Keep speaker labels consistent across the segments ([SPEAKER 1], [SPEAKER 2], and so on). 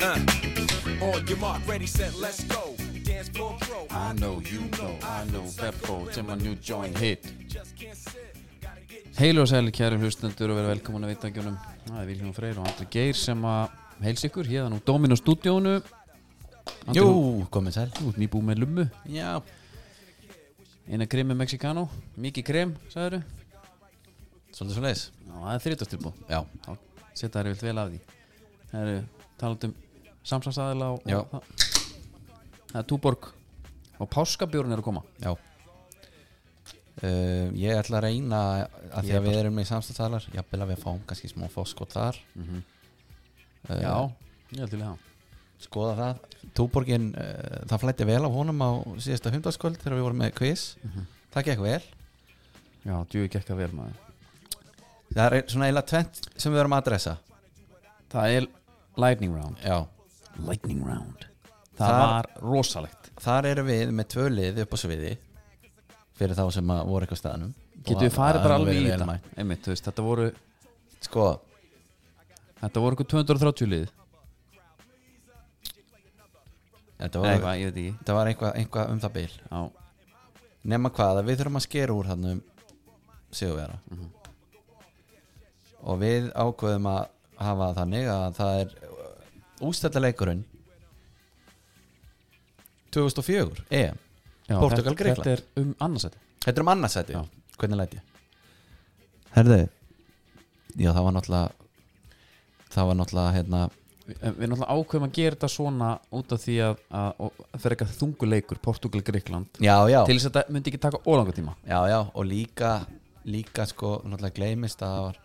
[SPEAKER 1] Uh. On your mark, ready, set, let's go. Dance floor pro.
[SPEAKER 2] I know, you know, I know Beppo til my new joint hit Heil og sæli kæri hlustendur og verið velkomin að vitangjónum Það er Vilhjón Freyr og Andri Geir sem að heils ykkur hérna úr Dóminu stúdíónu Andri,
[SPEAKER 3] Jú, komið sæl
[SPEAKER 2] Þú ert nýbúið með lummu
[SPEAKER 3] Já,
[SPEAKER 2] Eina kremi mexikano, mikið krem, sagðurðu
[SPEAKER 3] svolítið svo leiðis
[SPEAKER 2] Já, það er þrítastilbúð
[SPEAKER 3] Já,
[SPEAKER 2] Þá setja þær vilt vel af því Það eru talað um samsagsadala og,
[SPEAKER 3] Já.
[SPEAKER 2] og það Það er túborg og páskabjórn er að koma
[SPEAKER 3] já uh, Ég ætla að reyna að því
[SPEAKER 2] Ég
[SPEAKER 3] að við erum með samstæðtalar jafnvel að við fáum kannski smá fóskot þar uh,
[SPEAKER 2] Já, ég held til í það
[SPEAKER 3] Skoða það Túborgin, uh, það flætti vel á honum á síðasta hundaskvöld þegar við vorum með quiz Það gekk vel
[SPEAKER 2] Já, djúi gekk að vel maður
[SPEAKER 3] Það er svona eiginlega tvent sem við erum að adressa
[SPEAKER 2] Það er lightning round
[SPEAKER 3] Já,
[SPEAKER 2] Lightning round Það,
[SPEAKER 3] Það
[SPEAKER 2] var rosalegt
[SPEAKER 3] þar erum við með tvö lið upp á sviði fyrir þá sem að voru eitthvað á staðnum
[SPEAKER 2] Getum
[SPEAKER 3] Og
[SPEAKER 2] við farið
[SPEAKER 3] að-
[SPEAKER 2] bara
[SPEAKER 3] að
[SPEAKER 2] alveg í
[SPEAKER 3] vera vel
[SPEAKER 2] þetta
[SPEAKER 3] mætt.
[SPEAKER 2] Einmitt, þú veist, þetta voru
[SPEAKER 3] Sko,
[SPEAKER 2] Þetta voru eitthvað 230 lið Nei,
[SPEAKER 3] þetta
[SPEAKER 2] eitthvað,
[SPEAKER 3] var,
[SPEAKER 2] ég veit ekki
[SPEAKER 3] þetta var eitthvað, eitthvað um það bil
[SPEAKER 2] Já,
[SPEAKER 3] nema hvað að við þurfum að skera úr hann um sigurvera og við ákveðum að hafa það þannig að það er uh, ústættaleikurinn 2004 EM,
[SPEAKER 2] Já
[SPEAKER 3] Portugal,
[SPEAKER 2] þetta,
[SPEAKER 3] Greikland
[SPEAKER 2] þetta er um annarsæti
[SPEAKER 3] þetta er um annarsæti
[SPEAKER 2] Já.
[SPEAKER 3] hvernig læt ég herðu já það var náttúrulega það var náttúrulega hérna
[SPEAKER 2] Við, eh, við náttúrulega ákveðum að gera þetta svona út af því að, að, að það er eitthvað þunguleikur Portugal, Greikland
[SPEAKER 3] já já
[SPEAKER 2] Til þess að þetta myndi ekki taka ólanga tíma
[SPEAKER 3] Já, já, og líka líka sko, náttúrulega gleymist að það var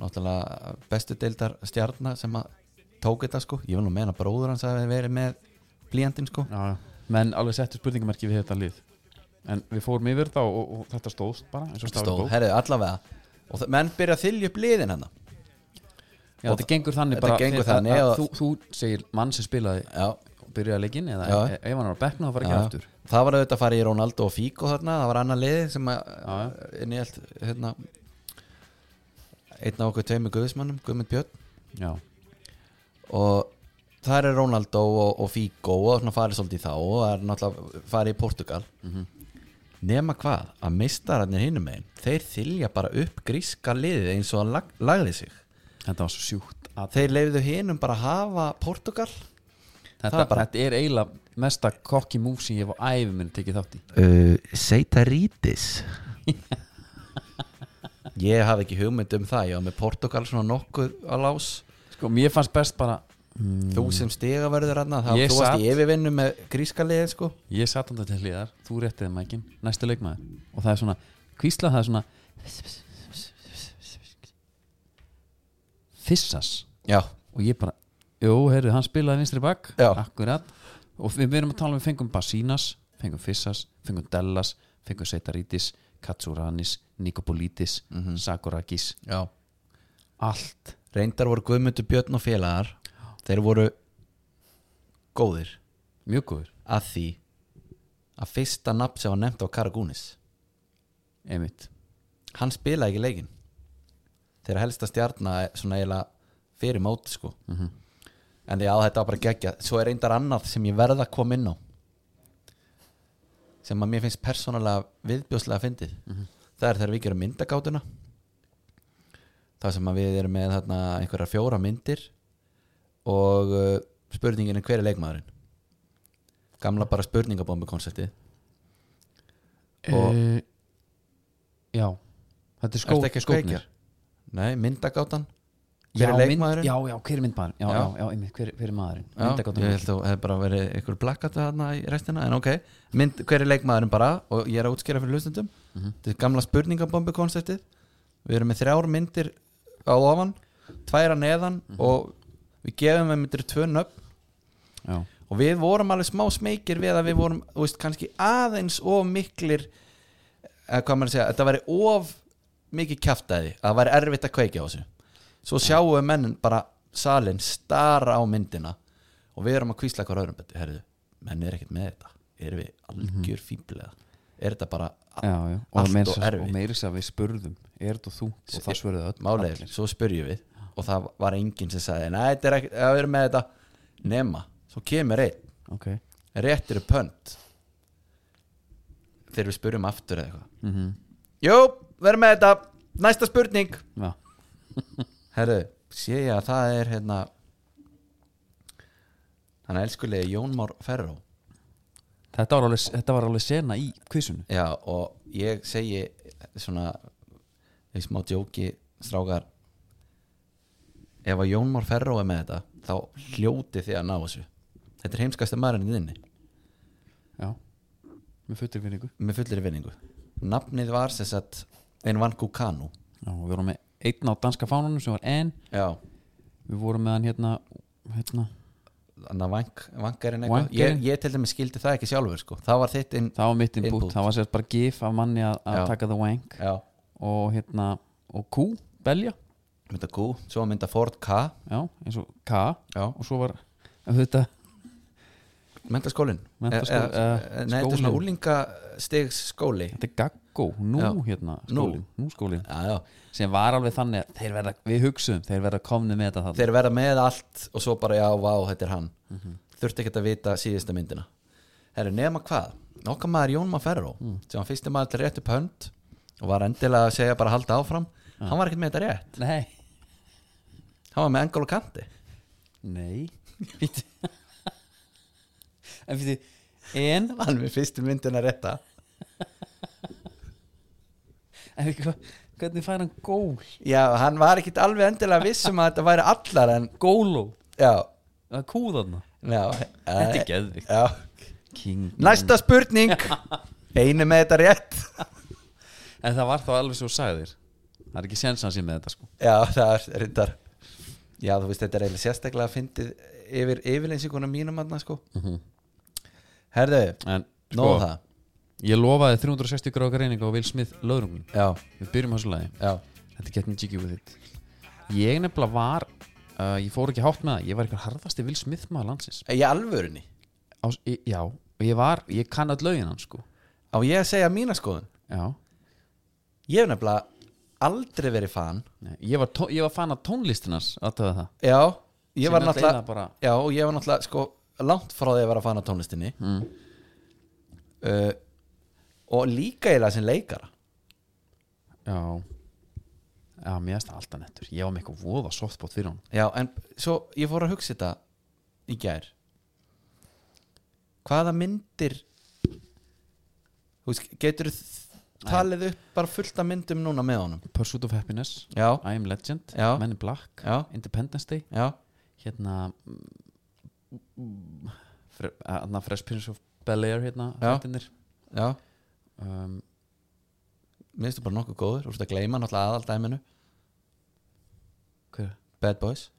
[SPEAKER 3] náttúrulega bestu deildar stjarnar sem að tók þetta sko, ég vil nú meina bróður hans að verið með blíjandinn sko
[SPEAKER 2] Já, já Menn alveg settu spurningamerki við þetta lið En við fórum yfir þetta og, og þetta stóðst bara eins og stafur
[SPEAKER 3] stóð,
[SPEAKER 2] bók.
[SPEAKER 3] herrið, allavega og það, menn byrja að þylja upp liðin hérna. hennar
[SPEAKER 2] Já, þetta gengur þannig
[SPEAKER 3] Þetta
[SPEAKER 2] bara
[SPEAKER 3] gengur
[SPEAKER 2] fyrir að-
[SPEAKER 3] þannig
[SPEAKER 2] að
[SPEAKER 3] og-
[SPEAKER 2] þú, þú segir mann sem spilaði
[SPEAKER 3] Já,
[SPEAKER 2] og byrjaði leikinn eða
[SPEAKER 3] Já.
[SPEAKER 2] e- ef hann var að bekna þá fara ekki
[SPEAKER 3] já.
[SPEAKER 2] aftur
[SPEAKER 3] það var auðvitað að fara í Ronaldo og Figo þarna, það var annað liði sem
[SPEAKER 2] Já,
[SPEAKER 3] að inn í allt hérna, einn á okkur tveimur guðismannum, Guðmund Björn
[SPEAKER 2] já,
[SPEAKER 3] og þar er Ronaldo og, og Figo og svona farið svolítið í þá og það er náttúrulega farið í Portugal Mhm. nema hvað að meistararnir hinum megin þeir þylja bara upp gríska liðið eins og hann lag, lagði sig
[SPEAKER 2] þetta var svo sjúkt að
[SPEAKER 3] þeir leiðu hinum bara að hafa Portugal
[SPEAKER 2] þetta,
[SPEAKER 3] Það er bara-
[SPEAKER 2] þetta er eiginlega mesta kokki múf sem ég hef á æfi minn tekið þátt í
[SPEAKER 3] uh, Seita Rítis ég hafði ekki hugmynd um það ég var með Portugal svona nokkuð á lás
[SPEAKER 2] sko, mér fannst best bara
[SPEAKER 3] þú sem stiga verður hann þá
[SPEAKER 2] Ég
[SPEAKER 3] þú varst
[SPEAKER 2] satt-
[SPEAKER 3] í yfirvinnu með gríska liðið sko
[SPEAKER 2] ég satt hann til hliðar, þú réttiði mækin næsti leikmaður og það er svona kvísla það er svona fissas
[SPEAKER 3] já,
[SPEAKER 2] og ég bara, jú, heyrðu, hann spilaði vinstri bak
[SPEAKER 3] Já.
[SPEAKER 2] akkurat og við verum að tala um, við fengum Basínas fengum Fissas, fengum Dellas fengum Seitarítis, Katsuranis Nikopolitis,
[SPEAKER 3] Mhm.
[SPEAKER 2] Sakorakis
[SPEAKER 3] já
[SPEAKER 2] allt,
[SPEAKER 3] reyndar voru Guðmundur Björn og félagar þeir voru góðir
[SPEAKER 2] mjög góður
[SPEAKER 3] að því að fyrsta nafn sem var nefnt á Karagúnis
[SPEAKER 2] einmitt,
[SPEAKER 3] hann spilaði ekki leikin þeir helsta stjarnar svona eiginlega fyrir móti sko
[SPEAKER 2] Mhm.
[SPEAKER 3] en því að þetta var bara gegja svo er reyndar annað sem ég verða að koma inn á sem að mér finnst persónulega viðbjóðslega fyndið
[SPEAKER 2] Mhm.
[SPEAKER 3] það er þegar við gerum myndagátuna það sem að við erum með þarna, einhverjar fjóra myndir og uh, spurningin er hver er leikmaðurinn gamla bara spurningabombi konceptið Og-
[SPEAKER 2] Eh, já þetta er skó,
[SPEAKER 3] Ertu ekki að
[SPEAKER 2] skópnir.
[SPEAKER 3] kveikja? Nei, myndagátan
[SPEAKER 2] já,
[SPEAKER 3] Hver er leikmaðurinn?
[SPEAKER 2] mynd, já, já, hver er myndmaðurinn já,
[SPEAKER 3] Já.
[SPEAKER 2] já, já, einmitt, hver, hver er maðurinn
[SPEAKER 3] Já,
[SPEAKER 2] Myndagáttan.
[SPEAKER 3] ég held að það hefði bara verið ykkur blakkat þarna í restina, en ok Mynd, hver er leikmaðurinn bara og ég er að útskýra fyrir hlustendum
[SPEAKER 2] Mhm.
[SPEAKER 3] þetta er gamla spurningabombi konceptið við erum með þrjár myndir á ofan tværa neðan og við gefum við myndir tvö nöfn
[SPEAKER 2] já,
[SPEAKER 3] og við vorum alveg smá smekir við að við vorum, þú veist, kannski aðeins of miklir eða hvað maður að segja, þetta væri of mikið kjaftaði, að það væri erfitt að kveikja á þessu svo sjáum við mennin bara salin stara á myndina og við erum að kvísla hver öðrum betur, herðu, menn er ekkert með þetta erum við algjör fíblega er þetta bara
[SPEAKER 2] já, já. og
[SPEAKER 3] Allt
[SPEAKER 2] meira
[SPEAKER 3] og
[SPEAKER 2] þess að-
[SPEAKER 3] erfitt.
[SPEAKER 2] og meira þess að við spurðum er þetta þú og það svörðu öll
[SPEAKER 3] málega, svo spyrjum við og það var enginn sem sagði, nei, þetta er ekkert, að við erum með þetta nema, svo kemur einn,
[SPEAKER 2] ok mm
[SPEAKER 3] réttir upp pönt þegar við spurum aftur eða eitthvað
[SPEAKER 2] Mhm.
[SPEAKER 3] Jú, verðum með þetta, næsta spurning
[SPEAKER 2] já,
[SPEAKER 3] Herru, sé ég að það er hérna hann elskulegi Jón Már Ferró
[SPEAKER 2] þetta var alveg, þetta var alveg sena í kvísunu
[SPEAKER 3] Já, og ég segi svona í smá djóki strákar ef að Jón Már Ferró er með þetta þá hljóti þið að ná þessu Þetta er heimskasta maðurinn í þinni
[SPEAKER 2] já, með fullri vinningu
[SPEAKER 3] með fullir vinningu Nafnið var sem sagt Einvan Kukanu
[SPEAKER 2] já, og við vorum með einn á danska fánunum sem var en
[SPEAKER 3] Já,
[SPEAKER 2] við vorum með hann hérna hérna
[SPEAKER 3] þannig að vank, vankarinn eitthvað
[SPEAKER 2] Vankarinn?
[SPEAKER 3] ég, ég til dæmis skildi það ekki sjálfur sko Það var þitt inn
[SPEAKER 2] það var mitt input,
[SPEAKER 3] Input.
[SPEAKER 2] það var sérst bara gif af manni að, að
[SPEAKER 3] Já.
[SPEAKER 2] taka the wank
[SPEAKER 3] Já,
[SPEAKER 2] og hérna, og Q, belja
[SPEAKER 3] mynda Q, svo mynda Ford K
[SPEAKER 2] já, eins og K
[SPEAKER 3] Já.
[SPEAKER 2] og svo var þetta,
[SPEAKER 3] Mentaskólin
[SPEAKER 2] Menntaskólinn,
[SPEAKER 3] Eh, eh,
[SPEAKER 2] eh,
[SPEAKER 3] Nei, þetta er svona
[SPEAKER 2] skólinn.
[SPEAKER 3] úlingastegs skóli
[SPEAKER 2] þetta er gaggó nú
[SPEAKER 3] Já.
[SPEAKER 2] hérna
[SPEAKER 3] Nú.
[SPEAKER 2] skólin, nú. skólin
[SPEAKER 3] Já, já
[SPEAKER 2] sem var alveg þannig að þeir verða, við hugsuðum þeir verða komni með þetta þarna
[SPEAKER 3] Þeir verða með allt og svo bara já, vá, þetta er hann
[SPEAKER 2] Mhm.
[SPEAKER 3] Þurfti ekkert að vita síðasta myndina Herru, nema hvað Okkar maður Jón Má Ferró
[SPEAKER 2] Mm.
[SPEAKER 3] sem var fyrsti maður til rétt upp hönd og var endilega að segja bara að halda áfram Hann var ekkert með þetta rétt
[SPEAKER 2] nei,
[SPEAKER 3] Hann var með engol og kanti
[SPEAKER 2] nei Bíddu. en fyrir en,
[SPEAKER 3] Hann með fyrstu myndina rétta
[SPEAKER 2] en hva, hvernig fær hann gól
[SPEAKER 3] Já, hann var ekkert alveg endilega viss um að þetta væri allar en
[SPEAKER 2] góló,
[SPEAKER 3] já,
[SPEAKER 2] það kúðarna
[SPEAKER 3] já eh,
[SPEAKER 2] þetta er geðvikt
[SPEAKER 3] Já
[SPEAKER 2] King
[SPEAKER 3] Næsta spurning Einu með þetta rétt
[SPEAKER 2] En það var þá alveg svo sagðir Það er ekki séns að hann sé með þetta sko
[SPEAKER 3] Já, það er reyndar Já, þú veist, þetta er eiginlega sérstaklega að fyndið yfir yfirleinsingunum mínum aðna, sko Herðu,
[SPEAKER 2] En Mhm. sko,
[SPEAKER 3] nóðu um það
[SPEAKER 2] ég lofaði 360 gráða reyninga og Will Smith löðrungum
[SPEAKER 3] Já,
[SPEAKER 2] Við byrjum á þessu lagi
[SPEAKER 3] já,
[SPEAKER 2] Þetta er getting jiggy with it Ég nefnilega var, uh, ég fór ekki hátt með það Ég var eitthvað harðasti Will Smith maður landsins
[SPEAKER 3] í alvörunni
[SPEAKER 2] á, í, Já, og ég var, ég kann all lögin hann sko
[SPEAKER 3] Á ég að segja mína skoðun
[SPEAKER 2] Já,
[SPEAKER 3] Ég hef nefnilega aldrei verið fan
[SPEAKER 2] Nei, ég var, tó- ég var fan af tónlistinans Aðtöða það
[SPEAKER 3] Já, ég
[SPEAKER 2] Sem
[SPEAKER 3] var
[SPEAKER 2] er
[SPEAKER 3] náttúrulega
[SPEAKER 2] eiginlega bara-
[SPEAKER 3] Já, og ég var náttúrulega, sko, langt frá því að vera fan af tónlistinni mm. uh, Og líka eiginlega sem leikara
[SPEAKER 2] Já Já, mér erst alltaf nettur Ég var með eitthvað voða softbót fyrir hann
[SPEAKER 3] Já, en svo ég fór að hugsa þetta í gær Hvaða myndir Þú veist, getur talið upp bara fullt af myndum núna með honum
[SPEAKER 2] Pursuit of Happiness
[SPEAKER 3] Já,
[SPEAKER 2] I am Legend,
[SPEAKER 3] Já.
[SPEAKER 2] Men in Black
[SPEAKER 3] Já.
[SPEAKER 2] Independence Day
[SPEAKER 3] já,
[SPEAKER 2] hérna mm, fre, hérna Fresh Prince of Bel-Air hérna
[SPEAKER 3] Já.
[SPEAKER 2] þættirnir.
[SPEAKER 3] já
[SPEAKER 2] um,
[SPEAKER 3] Mér finnst þú bara nokkuð góður, þú veist að gleyma náttúrulega aðaldæminu
[SPEAKER 2] hver?
[SPEAKER 3] Bad Boys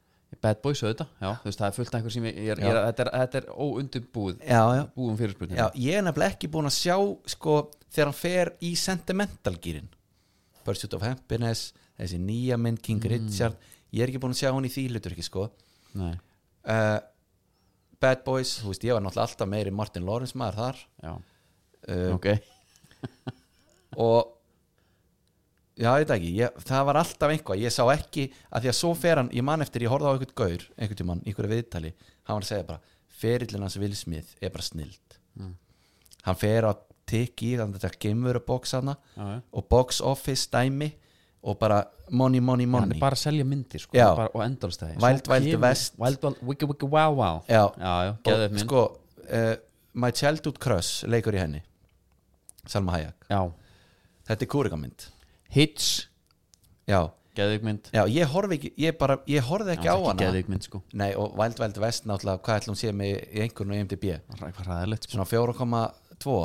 [SPEAKER 2] Bad Boys auðvitað, já, þú veist það er fullt af einhver sem ég, ég, er-
[SPEAKER 3] Já.
[SPEAKER 2] ég, er- þetta, er, þetta er óundirbúið
[SPEAKER 3] Já, já
[SPEAKER 2] búum fyrirspurning
[SPEAKER 3] Já, ég er nefnilega ekki búin að sjá sko, þegar hann fer í sentimental gýrin Pursuit of Happiness þessi nýja mynd King Richard ég er ekki búin að sjá hann í því hlutur ekki sko
[SPEAKER 2] Nei,
[SPEAKER 3] uh, Bad Boys, þú veist ég var náttúrulega alltaf meiri Martin Lawrence maður þar
[SPEAKER 2] já,
[SPEAKER 3] uh,
[SPEAKER 2] ok
[SPEAKER 3] og já, ég veit ekki, ég, það var alltaf einhvað ég sá ekki, að því að svo fer hann ég man eftir, ég horfði á einhvern gaur einhvern tímann, einhverja viðtali, hann var að segja bara ferillin hans Will Smith er bara snild
[SPEAKER 2] Mm.
[SPEAKER 3] hann fer að tiki í þannig að þetta gemur að box hana
[SPEAKER 2] já, já.
[SPEAKER 3] og box office dæmi og bara money, money,
[SPEAKER 2] Hann er
[SPEAKER 3] money
[SPEAKER 2] bara að selja myndir sko,
[SPEAKER 3] Já.
[SPEAKER 2] bara, og endalstæði
[SPEAKER 3] Wild Wild West.
[SPEAKER 2] Wild Wild Wicca Wicca Wow Wow
[SPEAKER 3] Já.
[SPEAKER 2] já, já geðveik
[SPEAKER 3] og
[SPEAKER 2] mynd
[SPEAKER 3] sko uh, My Childhood Crush leikur í henni Salma Hayek
[SPEAKER 2] já.
[SPEAKER 3] þetta er kúrikamynd
[SPEAKER 2] Hits,
[SPEAKER 3] já,
[SPEAKER 2] geðveik mynd
[SPEAKER 3] já ég horfi ekki, ég bara ég horfði ekki á
[SPEAKER 2] Annars
[SPEAKER 3] hana
[SPEAKER 2] geðveik mynd sko,
[SPEAKER 3] nei og Wild Wild West náttúrulega hvað ætlum sé með í einhvern og IMDb
[SPEAKER 2] hvað ræðilegt sko
[SPEAKER 3] svona 4,2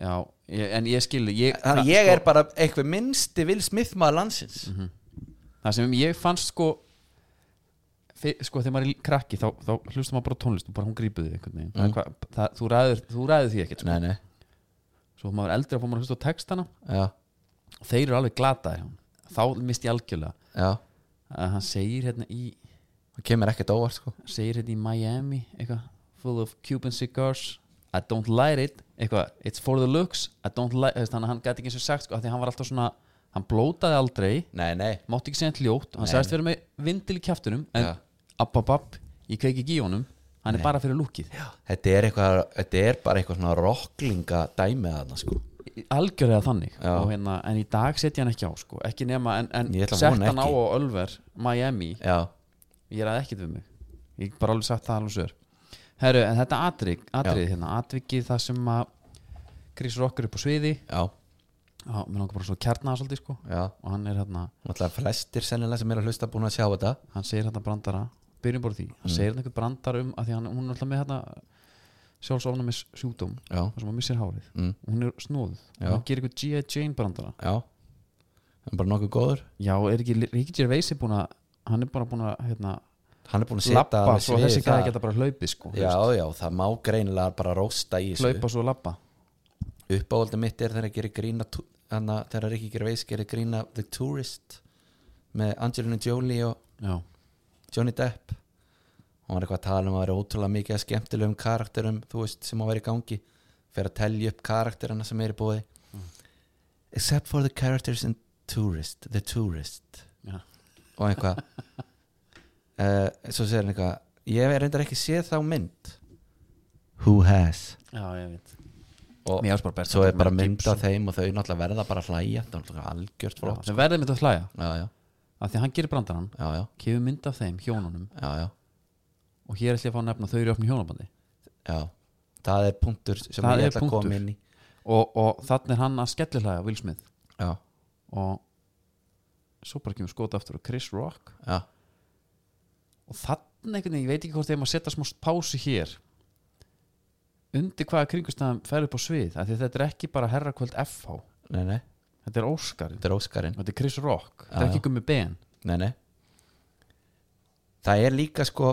[SPEAKER 2] Já, ég, en ég skil ég,
[SPEAKER 3] þannig ég
[SPEAKER 2] Sko-
[SPEAKER 3] er bara eitthvað minnsti Will Smith maður landsins
[SPEAKER 2] Mhm. það sem ég fannst sko fe- sko þegar maður er krakki þá, þá hlustar maður bara á tónlist og bara hún grípur þig einhvern veginn það, er hvað- það, þú, ræður, þú ræður því ekkert sko.
[SPEAKER 3] Mm. nei, nei,
[SPEAKER 2] svo þegar maður er eldri að fá maður að hlusta á textana
[SPEAKER 3] já,
[SPEAKER 2] og þeir eru alveg glataði þá misti ég algjörlega
[SPEAKER 3] já
[SPEAKER 2] að hann segir hérna í
[SPEAKER 3] það kemur ekkert óvart sko
[SPEAKER 2] segir hérna í Miami eitthvað full of Cuban cigars I don't light it eitthvað it's for the looks I don't light it þannig að hann gæti ekki eins og sagt sko af því að hann var alltaf svona hann blótaði aldrei
[SPEAKER 3] nei, nei,
[SPEAKER 2] mátti ekki segja hann ljótt hann
[SPEAKER 3] Nei.
[SPEAKER 2] sagðist vera með vindil í kjæftunum en
[SPEAKER 3] Já.
[SPEAKER 2] app app app ég kveiki ekki í honum hann er bara fyrir lúkið
[SPEAKER 3] þetta er, eitthvað, þetta er bara eitthvað svona rocklinga dæmi að hann sko.
[SPEAKER 2] algjörlega þannig
[SPEAKER 3] Já.
[SPEAKER 2] og hérna, en í dag setja hann ekki á sko. ekki nema, en, en
[SPEAKER 3] Ég ætla að
[SPEAKER 2] sett
[SPEAKER 3] vona
[SPEAKER 2] hann á
[SPEAKER 3] ekki.
[SPEAKER 2] á Ölver Miami,
[SPEAKER 3] já,
[SPEAKER 2] ég er að ekkit við mig ég get bara alveg sagt það alveg sör Herru, en þetta atrið, atrið hérna, atvikið það sem að Chris Rock er upp á sviði
[SPEAKER 3] já,
[SPEAKER 2] á, mér langar bara svo að kjarna það svolítið sko
[SPEAKER 3] já
[SPEAKER 2] og hann er hérna,
[SPEAKER 3] náttúrulega flestir sennilega sem er að hlusta búin að sjá þetta
[SPEAKER 2] hann segir hérna brandara byrjum bara á því, hann segir hérna einhver brandar um að því hann, hún er alltaf með hérna sjálfsofna með sjúdóm,
[SPEAKER 3] já,
[SPEAKER 2] þar sem hann missir hárið
[SPEAKER 3] mm,
[SPEAKER 2] og hún er snóð,
[SPEAKER 3] Já.
[SPEAKER 2] hann gerir eitthvað G.I. Jane brandara
[SPEAKER 3] já hann er bara nokkuð góður
[SPEAKER 2] Já, er ekki Ríkir Gervais er búin að hann er bara búin að hérna,
[SPEAKER 3] hann er búin að setja
[SPEAKER 2] lappa
[SPEAKER 3] alveg
[SPEAKER 2] svo
[SPEAKER 3] svið
[SPEAKER 2] þessi
[SPEAKER 3] þar.
[SPEAKER 2] gæði geta bara hlaupið sko
[SPEAKER 3] já, já, það má greinilega bara rósta í þessu
[SPEAKER 2] hlaupa svo lappa
[SPEAKER 3] uppáhaldið mitt er þegar að gera grína hana, þegar Rikki Gervais gerir grína The Tourist með Angelina Jolie og
[SPEAKER 2] Já,
[SPEAKER 3] Johnny Depp hún var eitthvað að tala um að vera ótrúlega mikið að skemmtilegum karakterum þú veist sem að vera í gangi fyrir að telja upp karakterana sem er í bóði except for the characters in Tourist The Tourist
[SPEAKER 2] Já.
[SPEAKER 3] og eitthvað uh, svo segir hann eitthvað ég hef reyndar ekki séð þá mynd Who has
[SPEAKER 2] já, ég veit
[SPEAKER 3] og
[SPEAKER 2] Mér ást bara best
[SPEAKER 3] svo
[SPEAKER 2] að
[SPEAKER 3] er
[SPEAKER 2] taka
[SPEAKER 3] bara
[SPEAKER 2] Mel
[SPEAKER 3] mynd
[SPEAKER 2] Gibson.
[SPEAKER 3] af þeim og þau náttúrulega verða bara að hlæja það er náttúrulega algjört
[SPEAKER 2] Já,
[SPEAKER 3] flott
[SPEAKER 2] Þau verður mynd að hlæja
[SPEAKER 3] já, já,
[SPEAKER 2] af því að hann gerir brandarann,
[SPEAKER 3] já, já,
[SPEAKER 2] kefur mynd af þeim hjónunum
[SPEAKER 3] já, já,
[SPEAKER 2] og hér ætla ég að fá að nefna að þau eru í opnu hjónabandi
[SPEAKER 3] já. það er punktur sem
[SPEAKER 2] Það
[SPEAKER 3] ég
[SPEAKER 2] er
[SPEAKER 3] ætla að
[SPEAKER 2] punktur.
[SPEAKER 3] koma inn í
[SPEAKER 2] og, og þannig er hann að skellihlæja Will Smith
[SPEAKER 3] já,
[SPEAKER 2] og svo bara kemur skot aftur og Chris Rock
[SPEAKER 3] já,
[SPEAKER 2] og þannig einhvern veginn, ég veit ekki hvort þegar maður setja smá pásu hér undir hvaða kringustæðum fer upp á svið af því að þetta er ekki bara herrakvöld FH
[SPEAKER 3] nei, nei,
[SPEAKER 2] Þetta er Óskarinn
[SPEAKER 3] þetta er Óskarinn
[SPEAKER 2] Þetta er Chris Rock Þetta
[SPEAKER 3] Já,
[SPEAKER 2] er ekki
[SPEAKER 3] já.
[SPEAKER 2] Gummi Ben
[SPEAKER 3] nei, nei það er líka sko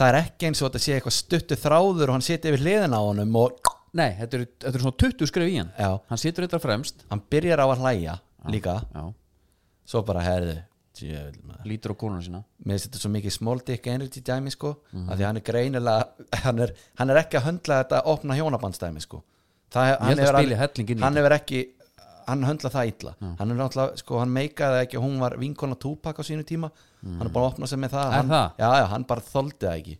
[SPEAKER 3] það er ekki eins og þetta sé eitthvað stuttu þráður og hann seti yfir hliðin á honum og
[SPEAKER 2] Nei, þetta eru þetta er svona 20 skrif í hann
[SPEAKER 3] já,
[SPEAKER 2] Hann situr þetta fremst
[SPEAKER 3] hann byrjar á að hlæja líka,
[SPEAKER 2] Já,
[SPEAKER 3] svo bara herðu djöfull, maður.
[SPEAKER 2] lítur á konuna sína
[SPEAKER 3] mér finnst þetta svo mikið small dick energy dæmi sko, af því
[SPEAKER 2] Mhm.
[SPEAKER 3] að hann er greinilega hann er, hann er ekki að höndla þetta opna hjónabandsdæmi sko það, hann,
[SPEAKER 2] held að
[SPEAKER 3] hefur
[SPEAKER 2] spili
[SPEAKER 3] al-
[SPEAKER 2] helling inn í
[SPEAKER 3] hann hefur ekki hann höndla það illa hann er náttúrulega, sko, hann meikaði ekki að hún var vinkona Tupac á sínu tíma hann er bara að opna sig með það,
[SPEAKER 2] Mhm. Er
[SPEAKER 3] hann,
[SPEAKER 2] það?
[SPEAKER 3] Já, já, hann bara þoldi það ekki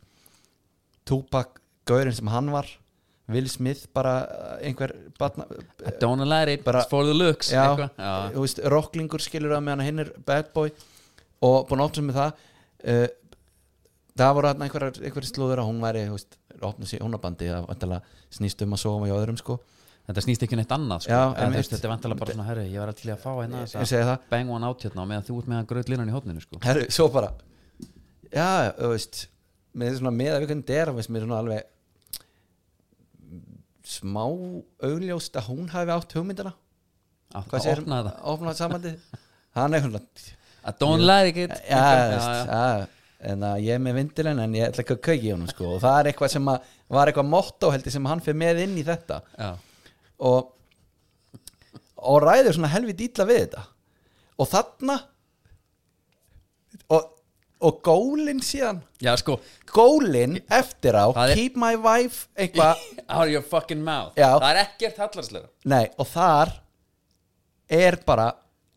[SPEAKER 3] Tupac, gaurinn sem hann var Will Smith bara eh, einhver batna,
[SPEAKER 2] I don't allow it,
[SPEAKER 3] bara-
[SPEAKER 2] it's for the looks
[SPEAKER 3] já,
[SPEAKER 2] eitthvað. já.
[SPEAKER 3] þú veist, rocklingur skilur það meðan hinn er bad boy og búin að opna sig með það uh, það voru hann einhverjar einhverjar slúður að hún væri, þú veist, opna sig húnabandi, það vantilega snýst um að sofa í öðrum sko,
[SPEAKER 2] Þetta snýst ekki neitt annað sko.
[SPEAKER 3] Já,
[SPEAKER 2] Eða, þú
[SPEAKER 3] einmitt.
[SPEAKER 2] veist, Þetta er vantilega bara svona herri Ég var til í að fá hérna
[SPEAKER 3] ég,
[SPEAKER 2] þessa
[SPEAKER 3] ég segi það
[SPEAKER 2] Bang one out hérna á meðan þú ert með að gröð línan í hótninu sko.
[SPEAKER 3] Herru, svo bara Já, þú veist með svona með að við hvernig dera veist, mér er svona alveg smá augljóst að hún hafi átt hugmyndina
[SPEAKER 2] Að
[SPEAKER 3] Hvað
[SPEAKER 2] að
[SPEAKER 3] segir-
[SPEAKER 2] opna það
[SPEAKER 3] Opnaði samandið Hann er svona
[SPEAKER 2] I don't allow it
[SPEAKER 3] Já, þú veist já, En að ég er með vindilinn en ég ætla ekki að kveiki honum sko og það er eitthvað sem að var eitthvað motto heldur sem hann fyrir með inn í þetta
[SPEAKER 2] já.
[SPEAKER 3] og og ræður svona helvið dýtla við þetta og þarna og, og gólinn síðan
[SPEAKER 2] já, sko
[SPEAKER 3] gólinn eftir á
[SPEAKER 2] Það er-
[SPEAKER 3] keep my wife eitthvað
[SPEAKER 2] Out of your fucking mouth
[SPEAKER 3] Já.
[SPEAKER 2] Það er ekkert hallarslega
[SPEAKER 3] nei og þar er bara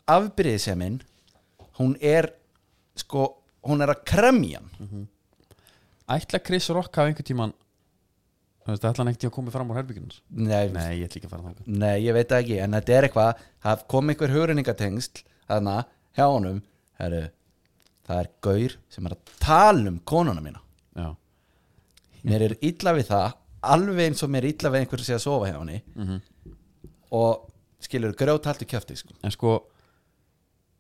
[SPEAKER 3] afbyrðiseminn hún er sko hún er að kremja hann
[SPEAKER 2] Ætla Chris Rock hafa einhvern tíman Þú veist, ætla hann ekkert að koma fram úr herbyggjunars
[SPEAKER 3] nei, nei.
[SPEAKER 2] Nei, ég ætla ekki að fara þangað
[SPEAKER 3] ég veit það ekki en þetta er eitthvað það kom einhver hugrenningatengsl þarna hjá honum heru, það er gaur sem er að tala um konuna mína
[SPEAKER 2] Já,
[SPEAKER 3] mér er illa við það alveg eins og mér er illa við einhver sem sé að sofa hjá henni
[SPEAKER 2] Mhm.
[SPEAKER 3] og skilur grjóthaltu kjöfti sko.
[SPEAKER 2] en sko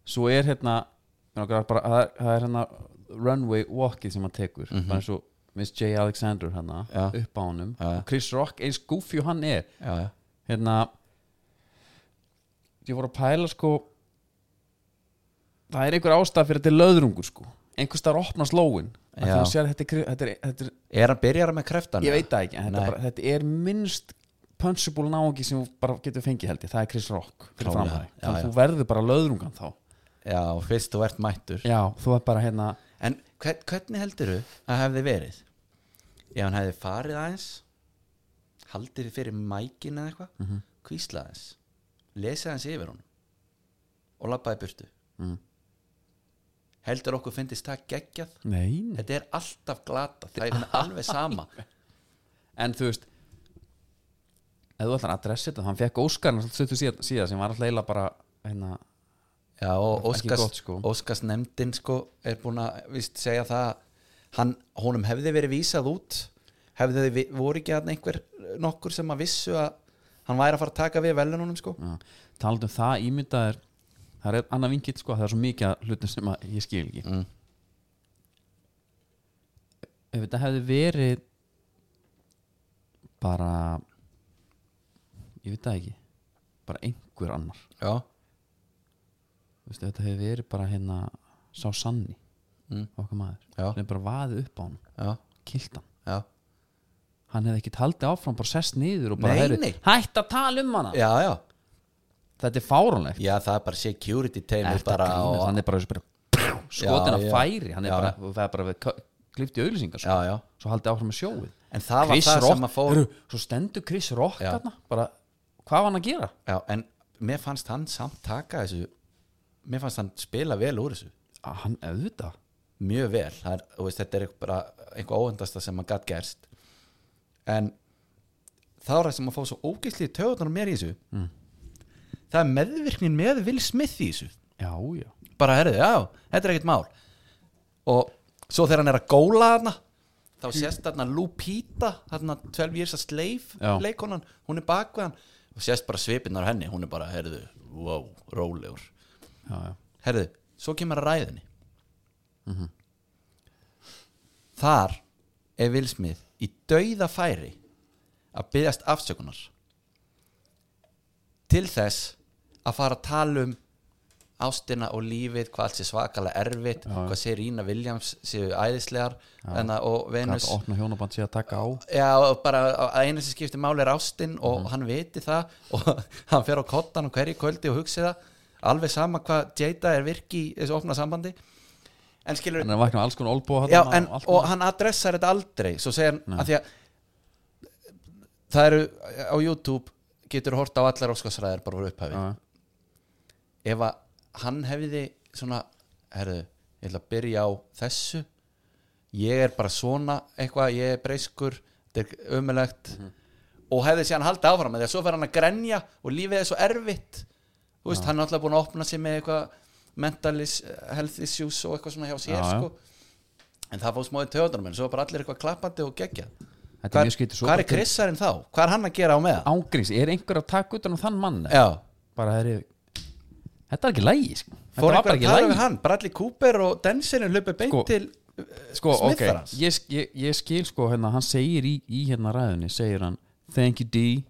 [SPEAKER 2] Svo er hérna mig langar bara, það, er, það er hérna runway walkið sem hann tekur bara eins og Miss J. Alexander hérna
[SPEAKER 3] Mhm. Já.
[SPEAKER 2] upp á honum
[SPEAKER 3] Já, já.
[SPEAKER 2] Og Chris Rock, eins goofy og hann er
[SPEAKER 3] já, já.
[SPEAKER 2] hérna ég voru að pæla sko það er einhver ástæð fyrir þetta er löðrungur sko einhvers þar opnast lóin
[SPEAKER 3] Já.
[SPEAKER 2] þetta, er- þetta, er- þetta er
[SPEAKER 3] er hann byrjar með kreftan
[SPEAKER 2] ég veit það ekki, en þetta,
[SPEAKER 3] Nei.
[SPEAKER 2] bara, þetta er minnst punchable náungi sem þú bara getur fengið held ég, það er Chris Rock fyrir
[SPEAKER 3] Klálega,
[SPEAKER 2] fram það,
[SPEAKER 3] já,
[SPEAKER 2] þannig
[SPEAKER 3] já.
[SPEAKER 2] að þú verður bara löðrungan þá
[SPEAKER 3] já, fyrst þú ert mættur
[SPEAKER 2] já, þú er bara hérna
[SPEAKER 3] en hvern, hvernig heldur þú að hefði verið ef hann hefði farið aðeins haldið þið fyrir mækin eða eitthvað mm kvíslað aðeins Mhm. lesið aðeins yfir hún og labbaði burtu mm. heldur okkur fyndist það geggjað
[SPEAKER 2] Nei, nei
[SPEAKER 3] þetta er alltaf glata, það er alveg sama
[SPEAKER 2] En þú veist Ef þú ætlar að adressa þetta Hann fekk Óskarn Suttu síðan síða, sem var alltaf eila bara hérna,
[SPEAKER 3] Já,
[SPEAKER 2] Það er
[SPEAKER 3] og
[SPEAKER 2] ekki
[SPEAKER 3] Óskars,
[SPEAKER 2] gott, sko.
[SPEAKER 3] Óskars nefndin sko, er búin að víst, segja það hann, honum hefði verið vísað út hefði þið vi- voru ekki að einhver nokkur sem að vissu að hann væri að fara að taka við velunum sko.
[SPEAKER 2] já, Talandi um það ímyndaðir Það er annað vinkitt sko Það er svo mikið að hlutum sem að ég skil ekki
[SPEAKER 3] Mm.
[SPEAKER 2] Ef þetta hefði verið Bara Ég veit það ekki Bara einhver annar
[SPEAKER 3] Já,
[SPEAKER 2] Þú veist, ef Þetta hefði verið bara hérna Sá sanni
[SPEAKER 3] Mm.
[SPEAKER 2] Okkar maður
[SPEAKER 3] Já.
[SPEAKER 2] Sem bara vaði upp á hann
[SPEAKER 3] já,
[SPEAKER 2] Kilt hann
[SPEAKER 3] já
[SPEAKER 2] hann hefði ekkert haldið áfram bara sest niður og bara
[SPEAKER 3] Nei,
[SPEAKER 2] heyrðu,
[SPEAKER 3] nei.
[SPEAKER 2] hætt að tala um hana
[SPEAKER 3] Já, já,
[SPEAKER 2] þetta er fáránlegt
[SPEAKER 3] já, það er bara security teimi
[SPEAKER 2] Ertu að
[SPEAKER 3] bara
[SPEAKER 2] grínast?
[SPEAKER 3] og,
[SPEAKER 2] hann er bara, þessu bara skotin að
[SPEAKER 3] já.
[SPEAKER 2] færi hann er
[SPEAKER 3] Já.
[SPEAKER 2] bara, og það er bara við klifti auðlýsingar
[SPEAKER 3] Já,
[SPEAKER 2] sko.
[SPEAKER 3] já
[SPEAKER 2] svo haldið áfram með sjóið
[SPEAKER 3] En það var
[SPEAKER 2] Chris
[SPEAKER 3] það
[SPEAKER 2] Rock,
[SPEAKER 3] sem að fór
[SPEAKER 2] heyrðu, svo stendur Chris Rock
[SPEAKER 3] Já.
[SPEAKER 2] þarna, bara, hvað var hann að gera?
[SPEAKER 3] Já, en mér fannst hann samt taka þessu mér fannst hann spila vel úr þessu
[SPEAKER 2] Að "Ah, hann auðvitað
[SPEAKER 3] mjög vel það er, þú veist, þetta er eitthvað, bara eitthvað óöndasta sem maður gatt gerst en þá er það sem að fá svo ógeðsli töðunar mér í þessu það er meðvirknin með Will Smith í þessu
[SPEAKER 2] já, já,
[SPEAKER 3] bara herðið, já, þetta er ekkert mál og svo þegar hann er að góla hana þá sést þarna Lupita þarna 12 years a slave
[SPEAKER 2] Já.
[SPEAKER 3] leikonan, hún er bak við hann og sést bara svipinnar henni, hún er bara herðu, wow, rólegur
[SPEAKER 2] já, já.
[SPEAKER 3] herðu, svo kemur að ræðinni þar er Will Smith í dauða færi að byggjast afsökunar til þess að fara að tala um ástina og lífið, hvað allt sé svakalega erfitt hvað sé Rína Williams séu æðislegar enna, og Venus
[SPEAKER 2] hvað opna hjónaband sé að taka á
[SPEAKER 3] Já, og bara að einu sem skiptir máli er ástinn og
[SPEAKER 2] Mhm.
[SPEAKER 3] hann viti það og hann fer á kottan og hverju kvöldi og hugsi það alveg sama hvað Jada er virki í þessu opna sambandi en skilur
[SPEAKER 2] hann er að vakna með alls konar olbúa
[SPEAKER 3] já, en, og hann adressar þetta aldrei svo segir hann að því að það eru á YouTube getur hort á allar óskarsræðir bara voru upphæfi ef að hann hefði svona, herðu, ég ætla að byrja á þessu ég er bara svona eitthvað, ég er breyskur þetta er ömulegt
[SPEAKER 2] Mhm.
[SPEAKER 3] og hefði síðan haldið áfram með því að svo fer hann að grenja og lífið er svo erfitt þú veist, hann er alltaf búin að opna sig með eitthvað mental is, health issues og eitthvað svona hjá sér
[SPEAKER 2] Já, já.
[SPEAKER 3] sko en það fór smáði töðunum en svo var bara allir eitthvað klappandi og geggja
[SPEAKER 2] Þetta er
[SPEAKER 3] hvað
[SPEAKER 2] mjög skrítið, svo
[SPEAKER 3] hvað
[SPEAKER 2] bara
[SPEAKER 3] er Krissarinn þá? hvað er hann að gera á með það?
[SPEAKER 2] ángriðs, er einhver að taka utan á þann mann
[SPEAKER 3] Já,
[SPEAKER 2] bara það er þetta er ekki lægi sko. þetta
[SPEAKER 3] fór
[SPEAKER 2] var
[SPEAKER 3] einhver
[SPEAKER 2] bara
[SPEAKER 3] að
[SPEAKER 2] ekki
[SPEAKER 3] tala
[SPEAKER 2] lægi
[SPEAKER 3] við hann Bradley Cooper og Denserin hlupið beint
[SPEAKER 2] Sko,
[SPEAKER 3] til
[SPEAKER 2] sko,
[SPEAKER 3] Smith
[SPEAKER 2] ok,
[SPEAKER 3] þar hans.
[SPEAKER 2] ég, ég, ég skil sko hérna, hann segir í, í hérna ræðunni segir hann, thank you D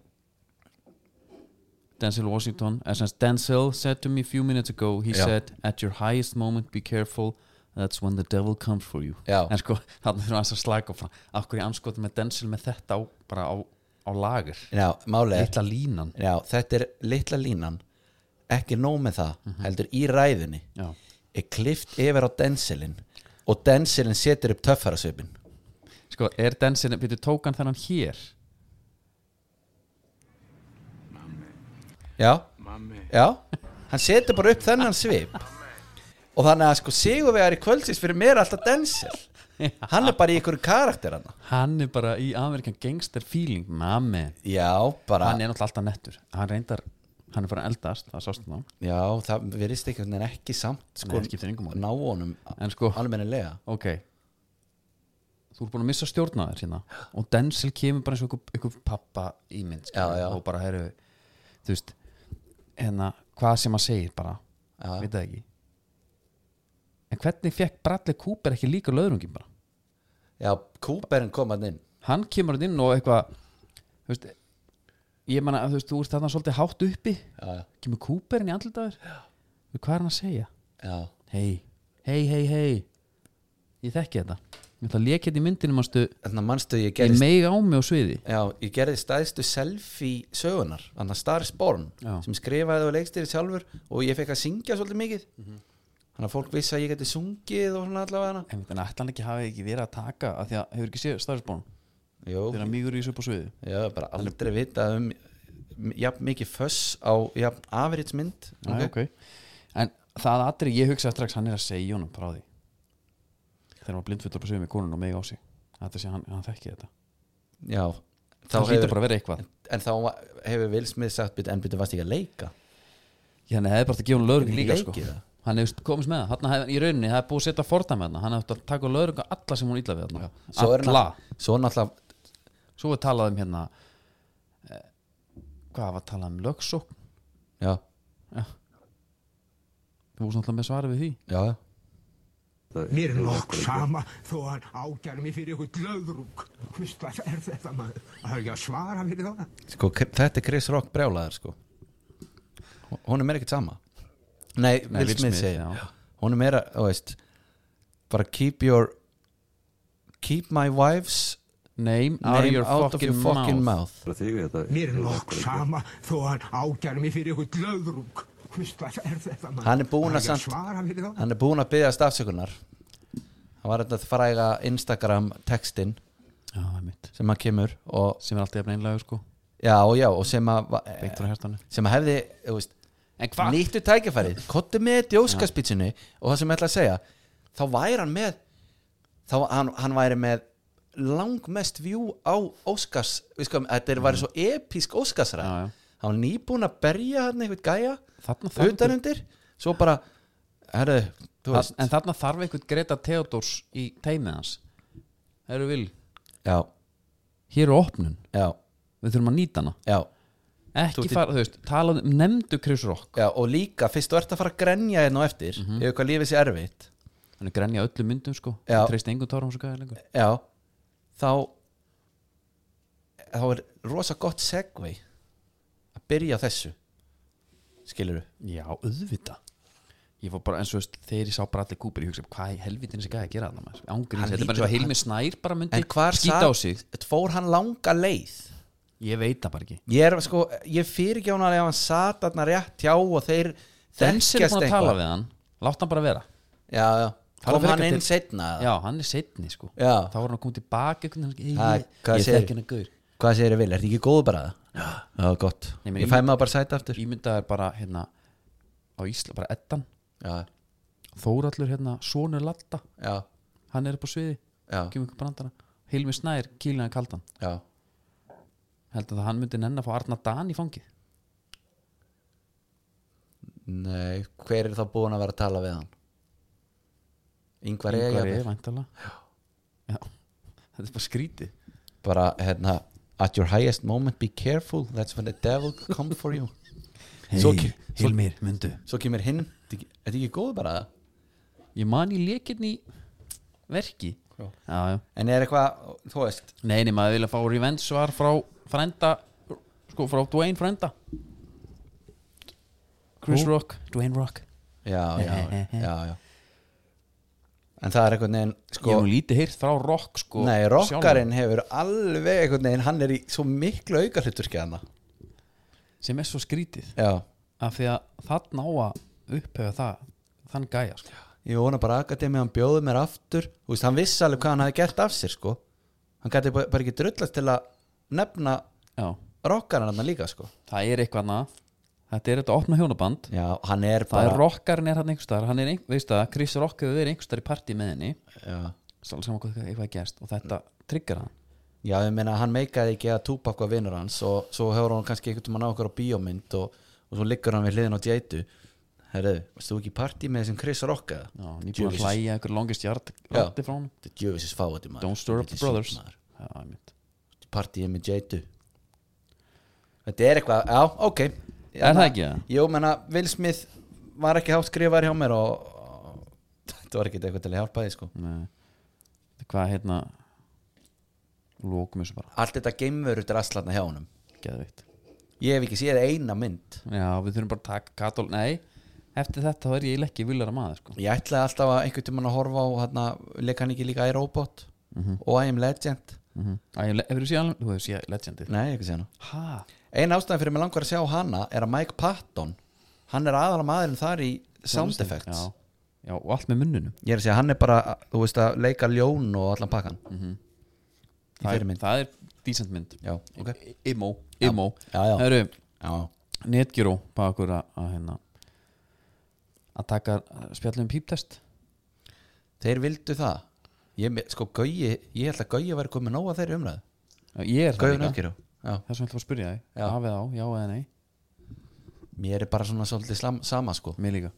[SPEAKER 2] Denzel Washington as as Denzel said to me a few minutes ago he
[SPEAKER 3] Já.
[SPEAKER 2] said, at your highest moment be careful, that's when the devil comes for you
[SPEAKER 3] Já.
[SPEAKER 2] en sko, hann þurfum hans að slaka frá af hverju anskotum með Denzel með þetta á, bara á, á lager
[SPEAKER 3] Já, málið er
[SPEAKER 2] litla línan
[SPEAKER 3] Já, þetta er litla línan ekki nóg með það, heldur í ræðunni
[SPEAKER 2] Já.
[SPEAKER 3] er klift yfir á Denselin og Denselin setur upp töffarasvipin
[SPEAKER 2] sko, er Denzel, við tók hann þennan hér
[SPEAKER 3] Já, já hann setur bara upp þennan svip og þannig að sko Sigurvegar í kvöldsins fyrir mér er alltaf Densel hann er bara í ykkur karakter hann
[SPEAKER 2] hann er bara í Amerikan gangster feeling mamma
[SPEAKER 3] Já, bara
[SPEAKER 2] hann er náttúrulega alltaf nettur hann reyndar, hann er fyrir að eldast það sást það
[SPEAKER 3] Já, það verðist ekki, hann er ekki samt sko,
[SPEAKER 2] Nei, skiptir engu máli.
[SPEAKER 3] ná honum
[SPEAKER 2] En sko-
[SPEAKER 3] almennilega
[SPEAKER 2] ok þú er búin að missa stjórnaður hérna og Denzel kemur bara eins og einhver- einhver pappa ímynd
[SPEAKER 3] Já, já.
[SPEAKER 2] og bara herru þú veist, hérna hvað sem hann segir bara,
[SPEAKER 3] Já.
[SPEAKER 2] veit það ekki en hvernig fekk Bradley Cooper ekki líka löðrungin bara
[SPEAKER 3] Já, Cooperin kom hann inn
[SPEAKER 2] hann kemur þarna inn og eitthvað þú veist ég meina, þú veist, þú ert þarna svolítið hátt uppi
[SPEAKER 3] Já, já.
[SPEAKER 2] kemur Cooperin í andlitaður hvað er hann að segja?
[SPEAKER 3] Já,
[SPEAKER 2] hei, hei, hei, hei ég þekki þetta ég ætla að leka þetta í myndinu mástu
[SPEAKER 3] þannig að manstu ég
[SPEAKER 2] ég
[SPEAKER 3] gerðist
[SPEAKER 2] meig á mig á sviði
[SPEAKER 3] Já, ég gerði stæðstu selfie sögunar Þannig að Stars Born
[SPEAKER 2] Já.
[SPEAKER 3] sem skrifaði og leikstýri sjálfur og ég fekk að syngja svolítið mikið
[SPEAKER 2] Mhm.
[SPEAKER 3] Þannig að fólk vissi að ég geti sungið og svona allavega hana
[SPEAKER 2] en ætla hann ekki hafi ekki verið að taka af því að hefur ekki séð starfsbónum þegar
[SPEAKER 3] Jú,
[SPEAKER 2] hann mígur í þessu upp á sviði
[SPEAKER 3] ég hef bara aldrei vitað um jafn mikið föss á jafn afritsmynd
[SPEAKER 2] okay. en það aðri ég hugsa strax hann er að segja honum frá því þegar hann var blindfullur og séu með konun og mig á sig þetta sé hann, hann þekki þetta
[SPEAKER 3] já þá
[SPEAKER 2] það hlýtur bara að vera eitthvað
[SPEAKER 3] en þá var- hefur Will Smith sagt "Bíddu, en byrja varst ekki að leika
[SPEAKER 2] já, hann hefði bara átt að gefa hún lögreglu líka
[SPEAKER 3] Leikið
[SPEAKER 2] sko.
[SPEAKER 3] það.
[SPEAKER 2] hann hefur komist með það Þarna hefði- í rauninni, það er búið að setja fordæmi þarna hann hefði átt að taka lögreglu alla sem hún illa við þarna.
[SPEAKER 3] svo er
[SPEAKER 2] alla,
[SPEAKER 3] hann svo er náttúrulega
[SPEAKER 2] svo við talaðum hérna eh, hvað var talað um lögsókn
[SPEAKER 3] já
[SPEAKER 2] þú búið náttúrulega með svarið við því
[SPEAKER 3] já já
[SPEAKER 4] Mér er nokk sama þó að hann ákjæra mig fyrir eitthvað löðrúk. Hvist, hvað er þetta maður? Það er ekki að svara fyrir það.
[SPEAKER 3] sko, K- þetta er Chris Rock brjálaðar sko hún er meira ekkert sama nei,
[SPEAKER 2] Nei,
[SPEAKER 3] Will
[SPEAKER 2] Will
[SPEAKER 3] Smith
[SPEAKER 2] Smith,
[SPEAKER 3] segir
[SPEAKER 2] já.
[SPEAKER 3] hún er meira, þú veist bara keep your keep my wife's
[SPEAKER 2] name out of
[SPEAKER 3] name
[SPEAKER 2] your
[SPEAKER 3] out of
[SPEAKER 2] fucking,
[SPEAKER 3] your fucking
[SPEAKER 2] mouth.
[SPEAKER 3] mouth,
[SPEAKER 5] Bara þig eða
[SPEAKER 4] Mér er nokk sama þó að hann ákjæra mig fyrir eitthvað löðrúk. Hvist, hvað er þetta maður?
[SPEAKER 3] Hann er búinn að
[SPEAKER 4] Það
[SPEAKER 3] samt-
[SPEAKER 4] ekki að svara fyrir það.
[SPEAKER 3] hann er búin að byggja stafsökunar hann var þetta fræga Instagram textin
[SPEAKER 2] já, það er mitt
[SPEAKER 3] sem að kemur og
[SPEAKER 2] sem er alltaf jafn einlega sko
[SPEAKER 3] já, já, og sem að va-
[SPEAKER 2] beint frá hérstanu
[SPEAKER 3] sem að hefði, þú veist
[SPEAKER 2] en hvað
[SPEAKER 3] nýttu tækifærið, kottu með djóskaspítsinu og það sem ég ætla að segja þá væri hann með þá hann, hann væri með langmest vjú á Óskars við sko, þetta er, væri svo episk Óskarsra
[SPEAKER 2] Já, já.
[SPEAKER 3] hann var nýbúin að berja hann einhvern gæja
[SPEAKER 2] Þarna þarf
[SPEAKER 3] utanundir, svo bara herru, um,
[SPEAKER 2] Þa,
[SPEAKER 3] þú veist
[SPEAKER 2] en þarna þarf einhvern Greta Theodors í teimið hans Herru Vil,
[SPEAKER 3] já,
[SPEAKER 2] hér er opnun
[SPEAKER 3] já,
[SPEAKER 2] við þurfum að nýta hana
[SPEAKER 3] já, Þú
[SPEAKER 2] ekki
[SPEAKER 3] ert í-
[SPEAKER 2] fara, þú veist, talað um, nefndu Chris Rock
[SPEAKER 3] já og líka fyrst þú ert að fara að grenja hérna á eftir yfir hvað lífið sé erfitt
[SPEAKER 2] hann er grænja öllum myndum sko
[SPEAKER 3] Já.
[SPEAKER 2] hann treyst engum tórum svo gæði lengur
[SPEAKER 3] já, þá þá er rosa gott segvei að byrja á þessu skilur
[SPEAKER 2] já, auðvita ég fór bara, eins og þú veist, þegar ég sá Bradley Cooper ég hugsa, hvað í helvitin þessi gæði að gera þarna ángurins,
[SPEAKER 3] Hann
[SPEAKER 2] þetta er bara
[SPEAKER 3] hlýtur-
[SPEAKER 2] eins og Hilmi Snær bara myndi
[SPEAKER 3] en hvar
[SPEAKER 2] skýta á sig
[SPEAKER 3] þetta fór hann langa leið
[SPEAKER 2] ég veit það bara ekki
[SPEAKER 3] ég er sko, ég fyrir ekki hann að hann sat þarna rétt hjá og þeir
[SPEAKER 2] Denzel er
[SPEAKER 3] þekkjast
[SPEAKER 2] búin að tala
[SPEAKER 3] eitthvað.
[SPEAKER 2] við hann, látt hann bara vera
[SPEAKER 3] já, já,
[SPEAKER 2] Fara
[SPEAKER 3] kom
[SPEAKER 2] frekar
[SPEAKER 3] hann inn
[SPEAKER 2] til-
[SPEAKER 3] setna
[SPEAKER 2] já, hann er setni sko
[SPEAKER 3] Já.
[SPEAKER 2] þá var hann að koma tilbaka einhvern veginn,
[SPEAKER 3] Ha,
[SPEAKER 2] ég,
[SPEAKER 3] hvað
[SPEAKER 2] ég, ég
[SPEAKER 3] segirðu?
[SPEAKER 2] þekki hennar gaur
[SPEAKER 3] hvað segir ég vil, er þetta ekki góð bara það? já, já, gott,
[SPEAKER 2] Nei, men
[SPEAKER 3] ég
[SPEAKER 2] ég-
[SPEAKER 3] fæ maður bara sæti aftur
[SPEAKER 2] ímyndaðar bara hérna á Ísla, bara Eddan
[SPEAKER 3] já,
[SPEAKER 2] Þórallur hérna, Sónur Latta
[SPEAKER 3] já,
[SPEAKER 2] hann er upp á sviði,
[SPEAKER 3] Já.
[SPEAKER 2] kemur ykkur brandara Hilmi Snær, Kílina Kaldan
[SPEAKER 3] já
[SPEAKER 2] heldur það hann myndi nenn að fá Arna Dan í fangið
[SPEAKER 3] nei, hver er þá búin að vera að tala við hann? yngvar ég,
[SPEAKER 2] Ingvar er væntalega já, þetta er bara skrítið
[SPEAKER 3] bara hérna at your highest moment be careful that's when the devil come for you Svo ke- svo-
[SPEAKER 2] Hilmir, myndu
[SPEAKER 3] svo kemur hinn, er þetta ekki góð bara það
[SPEAKER 2] ég man í lekinni verki
[SPEAKER 3] Já.
[SPEAKER 2] já, já.
[SPEAKER 3] en er eitthvað, þú veist
[SPEAKER 2] Nei, nei, maður vilja fá revenge svar frá frænda, sko frá Dwayne frænda Chris Rock Dwayne Rock
[SPEAKER 3] já, já, já, já en það er einhvern veginn
[SPEAKER 2] Ég
[SPEAKER 3] sko,
[SPEAKER 2] hef nú lítið heyrt frá Rock sko
[SPEAKER 3] nei,
[SPEAKER 2] sjálfan.
[SPEAKER 3] rockarinn hefur alveg einhvern veginn, hann er í svo miklu auka hluturki hann
[SPEAKER 2] Sem er svo skrítið
[SPEAKER 3] já,
[SPEAKER 2] Af því að þarna á að upphefa það Þann gæja sko
[SPEAKER 3] ég vona bara akademi hann bjóði mér aftur þú veist, hann vissi alveg hvað hann hafi gert af sér sko, hann gæti bara bara ekki drullast til að nefna
[SPEAKER 2] Já,
[SPEAKER 3] rockarinn hann líka sko
[SPEAKER 2] það er eitthvað annað Þetta er þetta opna hjónaband
[SPEAKER 3] já, hann er
[SPEAKER 2] Það
[SPEAKER 3] bara
[SPEAKER 2] er rockarinn er hann einhverstaðar Hann er, ein, veist það, Chris Rock hefur verið einhverstaðar í partí með henni
[SPEAKER 3] já.
[SPEAKER 2] Sálega saman hvað eitthvað er gerst Og þetta trigger hann
[SPEAKER 3] Já, ég meina, hann meikaði ekki að Tupac var vinnur hans og svo hefur hann kannski einhvern tímann á okkur á bíómynd og, og svo liggur hann við hliðin á djætu Herru, varst þú ekki í partí með þessum Chris Rocka?
[SPEAKER 2] Já, nýbúin að hlæja einhver longest yard Rátti frá hann
[SPEAKER 3] Þetta er djöfisins fáið maður
[SPEAKER 2] Don't stir up the
[SPEAKER 3] Þetta er
[SPEAKER 2] brothers
[SPEAKER 3] sjúkt, maður.
[SPEAKER 2] Já, einmitt.
[SPEAKER 3] Partíið með djætu Þetta er eitthvað, já, ok
[SPEAKER 2] Er það ekki það?
[SPEAKER 3] Jú, menna, Will Smith var ekki hátt skrifar hjá mér og, og þetta var ekki eitthvað til að hjálpa því sko
[SPEAKER 2] Nei. Hvað hérna Lókum þessu bara
[SPEAKER 3] Allt þetta geimveru drastlarna hjá honum
[SPEAKER 2] Geðveikt
[SPEAKER 3] Ég hef ekki séð eina mynd
[SPEAKER 2] Já, við þurfum bara að taka katól Nei, eftir þetta þá er ég eiginlega ekki villara maður sko.
[SPEAKER 3] Ég ætlaði alltaf að einhvern tímann að horfa á hérna, leik hann ekki líka í Robot og I am Legend
[SPEAKER 2] mm -hmm. Hefur þú séð alveg, þú hefur séð legendið
[SPEAKER 3] Nei, ekki sé hana
[SPEAKER 2] Hæ?
[SPEAKER 3] Ein ástæðan fyrir mig langar að sjá hana er að Mike Patton hann er aðalega maðurinn þar í sound effects
[SPEAKER 2] Já. Já, og allt með munnunum
[SPEAKER 3] Ég er að segja, hann er bara, þú veist að leika ljón og allan pakkan Í
[SPEAKER 2] Það,
[SPEAKER 3] þeirri
[SPEAKER 2] er,
[SPEAKER 3] mynd
[SPEAKER 2] það er decent mynd
[SPEAKER 3] Já, ok
[SPEAKER 2] I- Immo, immo
[SPEAKER 3] Já, já.
[SPEAKER 2] Heru,
[SPEAKER 3] Já,
[SPEAKER 2] Netgyro bara okkur að, að hérna að taka spjallum um píptest
[SPEAKER 3] þeir vildu það ég, me- sko, Gauji, ég held að Gauji væri komið nóg að þeirri umræðu
[SPEAKER 2] Ég er það
[SPEAKER 3] Gauji
[SPEAKER 2] líka
[SPEAKER 3] Nákiró Já.
[SPEAKER 2] Það sem ég ætla að fá að spyrja þig,
[SPEAKER 3] Já.
[SPEAKER 2] af eða á, já eða nei
[SPEAKER 3] Mér er bara svona svolítið slam, sama sko
[SPEAKER 2] Mér líka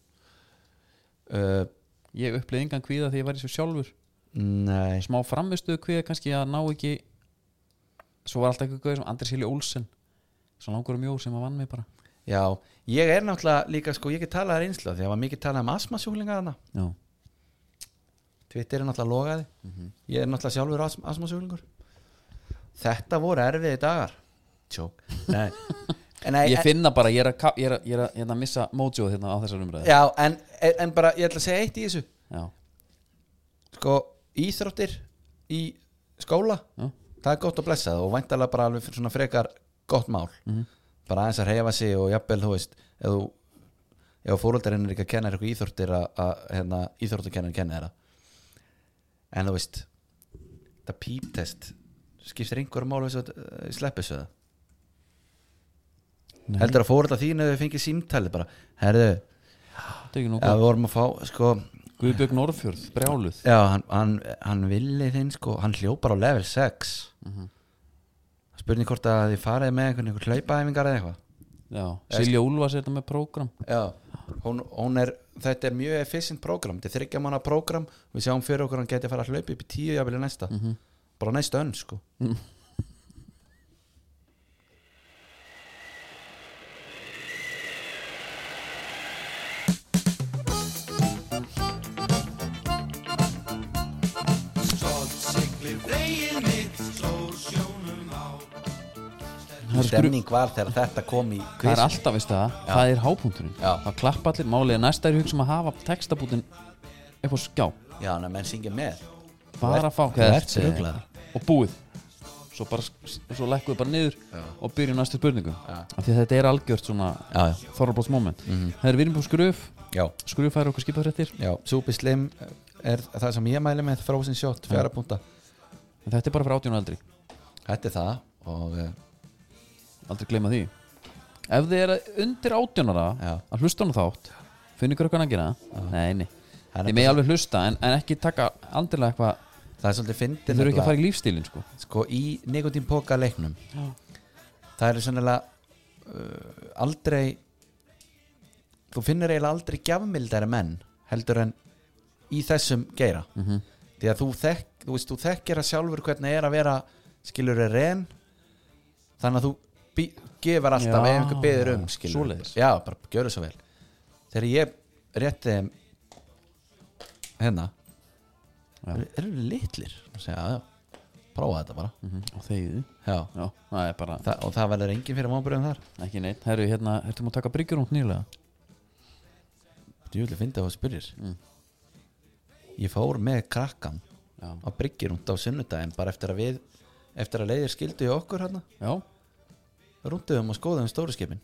[SPEAKER 3] uh,
[SPEAKER 2] Ég upplýði engan kvíða því ég var í svo sjálfur
[SPEAKER 3] Nei
[SPEAKER 2] Smá framistuðu kvíða kannski að ná ekki Svo var alltaf eitthvað gauð sem Andris Hilli Olsen Svo langur um jór sem að vann mig bara
[SPEAKER 3] Já, ég er náttúrulega líka sko Ég get talað að reynsla því að það var mikið talað um asmasjúlinga þarna
[SPEAKER 2] Já,
[SPEAKER 3] Twitter er náttúrulega logaði Ég er náttúrulega sjálfur as asmasjúlingur Þetta voru erfiði dagar Tjók Nei, En nei,
[SPEAKER 2] ég finna bara, ég er að, ka- ég er að, ég er að, ég er að missa mótjóð hérna á þessar
[SPEAKER 3] en,
[SPEAKER 2] umræði
[SPEAKER 3] Já, en, en, en bara ég ætla að segja eitt í þessu
[SPEAKER 2] Já,
[SPEAKER 3] Sko, íþróttir í skóla
[SPEAKER 2] Já.
[SPEAKER 3] Það er gott að blessa það og væntalega bara alveg fyrir svona frekar gott mál
[SPEAKER 2] Mhm.
[SPEAKER 3] Bara aðeins að reyfa sig og jafnvel, þú veist Ef þú Ef fóröldarinn er ekki að kenna þér eitthvað íþróttir að, að hérna, íþróttakennarinn kenna þér það. En þú veist Það píptest skiptir einhverjum mál þess að sleppi eh, þessu það
[SPEAKER 2] Nei.
[SPEAKER 3] heldur að fórölda þín ef þau fengið símtali bara, herðu,
[SPEAKER 2] þetta er ekki nú
[SPEAKER 3] ef við vorum að fá sko,
[SPEAKER 2] Guðbjörg Norrfjörð, brjáluð
[SPEAKER 3] Já, hann, hann, hann villi þinn sko, hann hljópar á level 6
[SPEAKER 2] Mhm.
[SPEAKER 3] Spurning hvort að þið farið með einhvern einhver hlaupaæfingar eða eitthvað
[SPEAKER 2] Já, Silja Úlfars er þetta með prógram
[SPEAKER 3] Já, hún, hún er, þetta er mjög efficient program, þetta er þryggja manna program Við sjáum fyrir okkur að hann geti að fara að hlaupa upp í tíu jafnvel í næsta,
[SPEAKER 2] Mhm.
[SPEAKER 3] bara næsta önn sko
[SPEAKER 2] Það er skru-
[SPEAKER 3] var þegar þetta kom í
[SPEAKER 2] Það er alltaf, veistu það, það er hápunkturinn
[SPEAKER 3] Já.
[SPEAKER 2] Það klappa allir, málið er næsta er hugsa um að hafa textabútin upp á skjá
[SPEAKER 3] Já, en að menn syngja með
[SPEAKER 2] bara að fá
[SPEAKER 3] þú ert
[SPEAKER 2] segir þið?
[SPEAKER 3] ruglaður.
[SPEAKER 2] og búið svo, bara, svo lekkuðu bara niður og byrju næstu spurningu
[SPEAKER 3] Já.
[SPEAKER 2] af því að þetta er algjört svona
[SPEAKER 3] Já, Mhm. já.
[SPEAKER 2] þorrablóts moment það er við erum búið skröf
[SPEAKER 3] Já,
[SPEAKER 2] skröf færi okkur skipafréttir
[SPEAKER 3] já, Súpi Slim er það sem ég mæli með Frozen Shot, fjara púnta
[SPEAKER 2] en þetta er bara fyrir átjónu aldri
[SPEAKER 3] Þetta er það og eh,
[SPEAKER 2] aldrei gleyma því ef þið er undir átjónara
[SPEAKER 3] Já.
[SPEAKER 2] að hlusta hann þátt finnir ykkur eitthvað að gera nei, nei
[SPEAKER 3] Það er
[SPEAKER 2] þið megi alveg hlusta en, en ekki taka andilega eitthvað
[SPEAKER 3] það er svolítið fyndið
[SPEAKER 2] þið þurfum ekki
[SPEAKER 3] nefnilega.
[SPEAKER 2] að fara í lífstílin sko
[SPEAKER 3] sko í nikotínpoka leiknum það eru sennilega uh, aldrei þú finnir eiginlega aldrei gjafmildari menn heldur en í þessum geira
[SPEAKER 2] Mhm.
[SPEAKER 3] -hmm. því að þú, þekk, þú, veist, þú þekkir að sjálfur hvernig er að vera skilur er ren þannig að þú bí, gefur alltaf
[SPEAKER 2] Já,
[SPEAKER 3] ef einhver beður um skilur
[SPEAKER 2] svoleiðis.
[SPEAKER 3] já, bara gjöru svo vel þegar ég rétti þeim hérna
[SPEAKER 2] Já.
[SPEAKER 3] eru er litlir segja, já, já, prófa þetta bara
[SPEAKER 2] mm og þegiðu
[SPEAKER 3] Já,
[SPEAKER 2] já, það er bara
[SPEAKER 3] Þa, og það verður enginn fyrir vonbröðum þar
[SPEAKER 2] ekki neitt herru, hérna, ertu múið að taka bryggjur út nýlega
[SPEAKER 3] Djúlega fyndi að það spyrir Ég fór með krakkan
[SPEAKER 2] Já.
[SPEAKER 3] á bryggjur út á sunnudaginn bara eftir að við eftir að leiðir skildu í okkur hérna
[SPEAKER 2] já,
[SPEAKER 3] rúnduðum og skoðum stóru skipin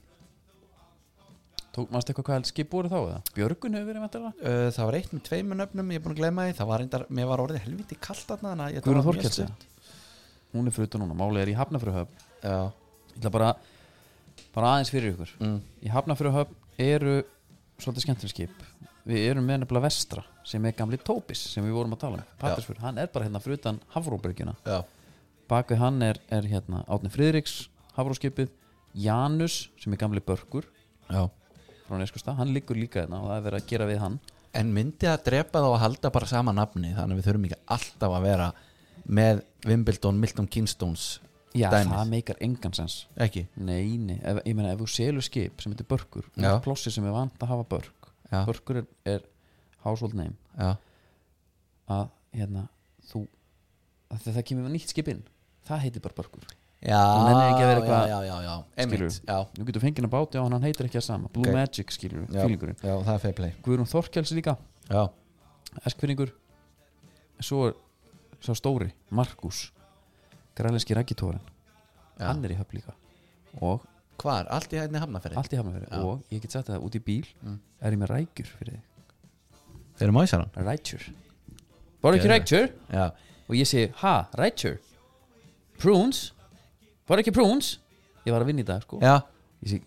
[SPEAKER 2] Tók mannst eitthvað hvað skip voru þá eða? Björgun hefur verið mættilega?
[SPEAKER 3] uh, Það var eitt með tveimur nöfnum, ég er búin að gleyma því það var reyndar, mér var orðið helviti kalt þarna þannig að þetta
[SPEAKER 2] Guðrún
[SPEAKER 3] var mjög
[SPEAKER 2] Þorkels
[SPEAKER 3] stutt.
[SPEAKER 2] Hún er fyrir utan núna, málið er í Hafnafröhöf
[SPEAKER 3] Já,
[SPEAKER 2] Ég ætla bara, bara aðeins fyrir ykkur
[SPEAKER 3] mm.
[SPEAKER 2] Í Hafnafröhöf eru svolítið skemmtileg skip Við erum með nefnilega vestra sem er gamli Tóbis sem við vorum að tala um Patrisfjörð, hann er bara hérna fyrir utan Hafróbryggjuna
[SPEAKER 3] Já.
[SPEAKER 2] Bakið hann er, er hérna Átni Friðriks, Hafróskipið Janus sem er gamli Börkur
[SPEAKER 3] Já.
[SPEAKER 2] frá Neskustad, hann liggur líka hérna og það er verið að gera við hann
[SPEAKER 3] En myndi það drepa þá að halda bara sama nafni þannig að við þurfum ekki alltaf að vera með Wimbledon, Milton Keynes
[SPEAKER 2] Já,
[SPEAKER 3] Dæmið.
[SPEAKER 2] það meikar engan sens
[SPEAKER 3] ekki?
[SPEAKER 2] Nei, nei, ef, ég meina ef þú selur skip sem heitir börkur,
[SPEAKER 3] Já.
[SPEAKER 2] plossi sem er vant að hafa börk
[SPEAKER 3] Já.
[SPEAKER 2] börkur er, er household name
[SPEAKER 3] Já,
[SPEAKER 2] að hérna þú að þegar það kemur nýtt skip inn það heitir bara börkur
[SPEAKER 3] já,
[SPEAKER 2] Þú nennir ekki að vera
[SPEAKER 3] já,
[SPEAKER 2] eitthvað-
[SPEAKER 3] já, já, já.
[SPEAKER 2] skilurðu?
[SPEAKER 3] Einmitt, já.
[SPEAKER 2] nú getur fengið að báti á hann, hann heitir ekki að sama Blue
[SPEAKER 3] Ok.
[SPEAKER 2] Magic skilur,
[SPEAKER 3] Já,
[SPEAKER 2] fílingurinn
[SPEAKER 3] já, það er fair play
[SPEAKER 2] Guðrún Þorkels líka,
[SPEAKER 3] já.
[SPEAKER 2] eskfyrningur svo er sá stóri, Markus grælenski rækitórin
[SPEAKER 3] Já.
[SPEAKER 2] hann er í höfn líka og
[SPEAKER 3] hvar, allt í hægni hafnafæri
[SPEAKER 2] allt í hafnafyrir
[SPEAKER 3] Já. Mm.
[SPEAKER 2] og ég get sagt það út í bíl er ég með rækjur fyrir þig,
[SPEAKER 3] þeir eru mæsaran
[SPEAKER 2] rækjur bara ekki
[SPEAKER 3] Geðveikt.
[SPEAKER 2] rækjur
[SPEAKER 3] já,
[SPEAKER 2] og ég segi, ha, rætjur prunes, var ekki prunes ég var að vinna í dag, sko
[SPEAKER 3] já,
[SPEAKER 2] ég segi,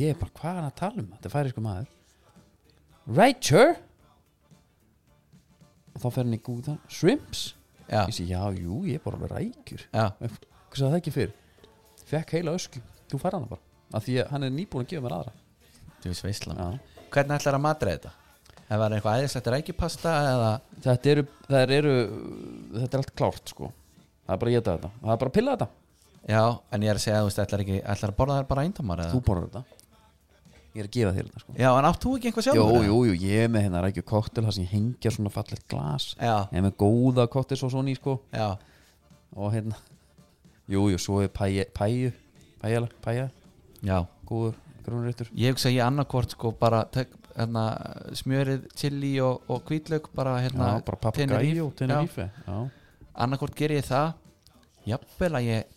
[SPEAKER 2] ég er bara, hvað er hann að tala um þetta færi sko maður rætjur og þá fer hann í Google Shrimps
[SPEAKER 3] já,
[SPEAKER 2] ég sé, já, jú, ég er bara alveg rækjur
[SPEAKER 3] já,
[SPEAKER 2] hvað sagði það ekki fyrr fekk heila ösku, þú fær hana bara af því að hann er nýbúin að gefa mér aðra
[SPEAKER 3] þú veist veistlan
[SPEAKER 2] já.
[SPEAKER 3] Hvernig ætlar að matra þetta? Ef það er eitthvað æðislegt rækjupasta eða
[SPEAKER 2] þetta eru, það eru þetta er allt klárt sko það er bara að geta þetta, það er bara að pilla þetta
[SPEAKER 3] Já, en ég er að segja, þú veist, ætlar ekki ætlar að borða þær bara eindámar eða
[SPEAKER 2] þú borður þetta, ég er að gefa þér þetta sko
[SPEAKER 3] Já, en átt þú ekki eitthvað
[SPEAKER 2] jú,
[SPEAKER 3] sjálfur?
[SPEAKER 2] jú, jú, ég er með hérna rækju koktel það sem ég hengja svona fallegt glas
[SPEAKER 3] Já,
[SPEAKER 2] ég er með góða koktel svo svona í sko
[SPEAKER 3] já,
[SPEAKER 2] og hérna, jú, jú, svo er pæju pæju, pæja, pæja
[SPEAKER 3] já
[SPEAKER 2] góður grunréttur
[SPEAKER 3] Ég hugsa að ég annarkvort sko bara tek, hérna, smjörið chili og, og hvítlaug bara hérna
[SPEAKER 2] Já, bara papagæju og Tenerife Já,
[SPEAKER 3] Annarkvort ger ég það Jafnvel að ég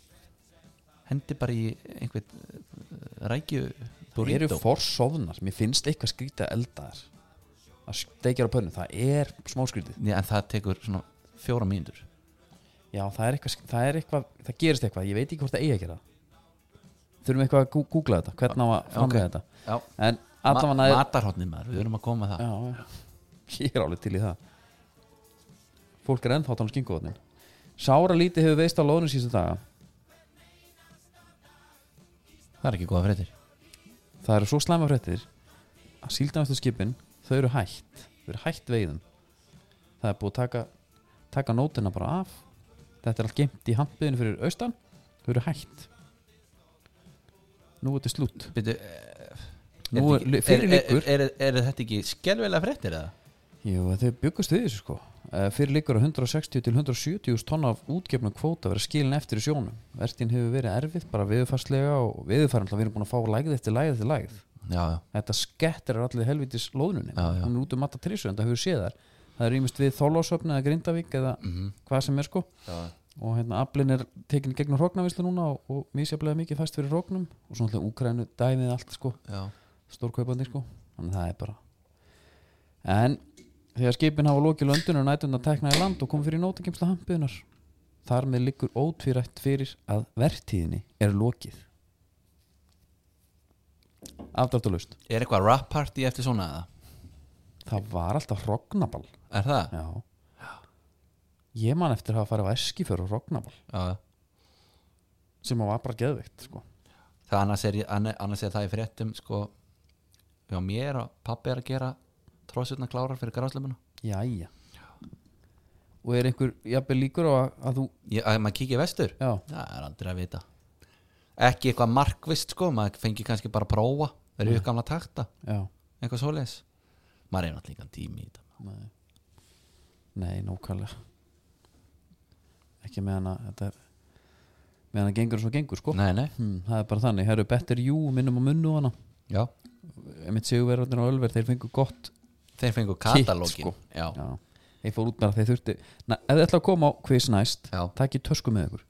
[SPEAKER 3] hendi bara í einhvern eh, rækju
[SPEAKER 2] þú eru
[SPEAKER 3] burrito.
[SPEAKER 2] forsofnar Mér finnst eitthvað skrítið að elda þær að steikja á pönnu, það er smá skrítið
[SPEAKER 3] Nei, En það tekur svona fjóra mínútur
[SPEAKER 2] Já, það er eitthvað, það er eitthvað það gerist eitthvað, ég veit ekki hvort það eigi að gera Þurfum eitthvað að gú- googla þetta hvernig á að framlega
[SPEAKER 3] Ok.
[SPEAKER 2] þetta
[SPEAKER 3] Já,
[SPEAKER 2] En allavega
[SPEAKER 3] Ma
[SPEAKER 2] næður
[SPEAKER 3] Matarhotnið maður, við erum að koma með það
[SPEAKER 2] Já, já, ég er alveg til í það Fólk er ennþátt á skinkuvotnin um Sára lítið hefur veist á lóðinu síðustu daga
[SPEAKER 3] Það er ekki góða fréttir
[SPEAKER 2] Það eru svo slæma fréttir að síldamestu skipin, þau eru hætt þau eru hætt veiðum það er búið að taka, taka nótina bara af þetta er allt geimt í handbyðinu fyrir austan, þau eru hætt nú er þetta slútt
[SPEAKER 3] Byrju, eh,
[SPEAKER 2] nú er, er fyrir líkur
[SPEAKER 3] er, er, er, er þetta ekki skelvelega fréttir eða?
[SPEAKER 2] jú, en þau byggast við þessu sko Eh, fyrir líkur að 160 til 170 tonna af útgefnum kvóta vera skilin eftir í sjónum verðin hefur verið erfitt bara viðfarslega og viðfærin við erum búin að fá lægð eftir lægð eftir lægð
[SPEAKER 3] Já, já,
[SPEAKER 2] þetta skettir er allir helvitis lóðnunni
[SPEAKER 3] Já, já.
[SPEAKER 2] hún er út um matta trísu en það hefur séð þar það er ímest við Þólásöfn eða Grindavík eða
[SPEAKER 3] Mhm.
[SPEAKER 2] hvað sem er sko
[SPEAKER 3] já.
[SPEAKER 2] og hérna aflinn er tekin í gegnum hróknavislu núna og, og misjaflega mikið fæst fyrir hróknum og svona alltaf Úkrænu dæmið allt sko
[SPEAKER 3] já.
[SPEAKER 2] stórkaupandi sko þannig að það er bara en þegar skipin hafa lokið löndun og nætund að tekna í land og kom fyrir nótakemsla hampiðunar þar með liggur ótvírætt fyrir að vertíðinni er lokið afdráttalust
[SPEAKER 3] Er eitthvað rap party eftir svona eða?
[SPEAKER 2] það var alltaf rognaball
[SPEAKER 3] Er það?
[SPEAKER 2] já. ég man eftir að hafa farið á eskifjör og rognaball
[SPEAKER 3] Já, já
[SPEAKER 2] sem var bara geðveikt sko.
[SPEAKER 3] Það annars er, ég- anna- annars er það í fréttum sko Já, mér og pappi er að gera tróðsutna klárar fyrir gráslefuna
[SPEAKER 2] jæja og er einhver jafnvel líkur á að, að þú
[SPEAKER 3] Að maður kíkja vestur?
[SPEAKER 2] já,
[SPEAKER 3] Það er aldrei að vita Ekki eitthvað markvist sko, maður fengi kannski bara að prófa Það eru gamla takta,
[SPEAKER 2] já,
[SPEAKER 3] eitthvað svoleiðis Maður er náttúrulega engan tími í þetta
[SPEAKER 2] nei nei, nókvælega ekki með hana þetta er með hana gengur eins og gengur sko
[SPEAKER 3] Nei, nei,
[SPEAKER 2] hmm, það er bara þannig, herru, better you minnum á munnu hana,
[SPEAKER 3] já
[SPEAKER 2] emitt sigurverðarnir á Ölver þeir fengu gott
[SPEAKER 3] Þeir fengu katalógin
[SPEAKER 2] sko.
[SPEAKER 3] já.
[SPEAKER 2] já, þeir fór út með að þeir þurfti Na, ef þið ætla að koma á quiz næst
[SPEAKER 3] Já.
[SPEAKER 2] takk ég tösku með ykkur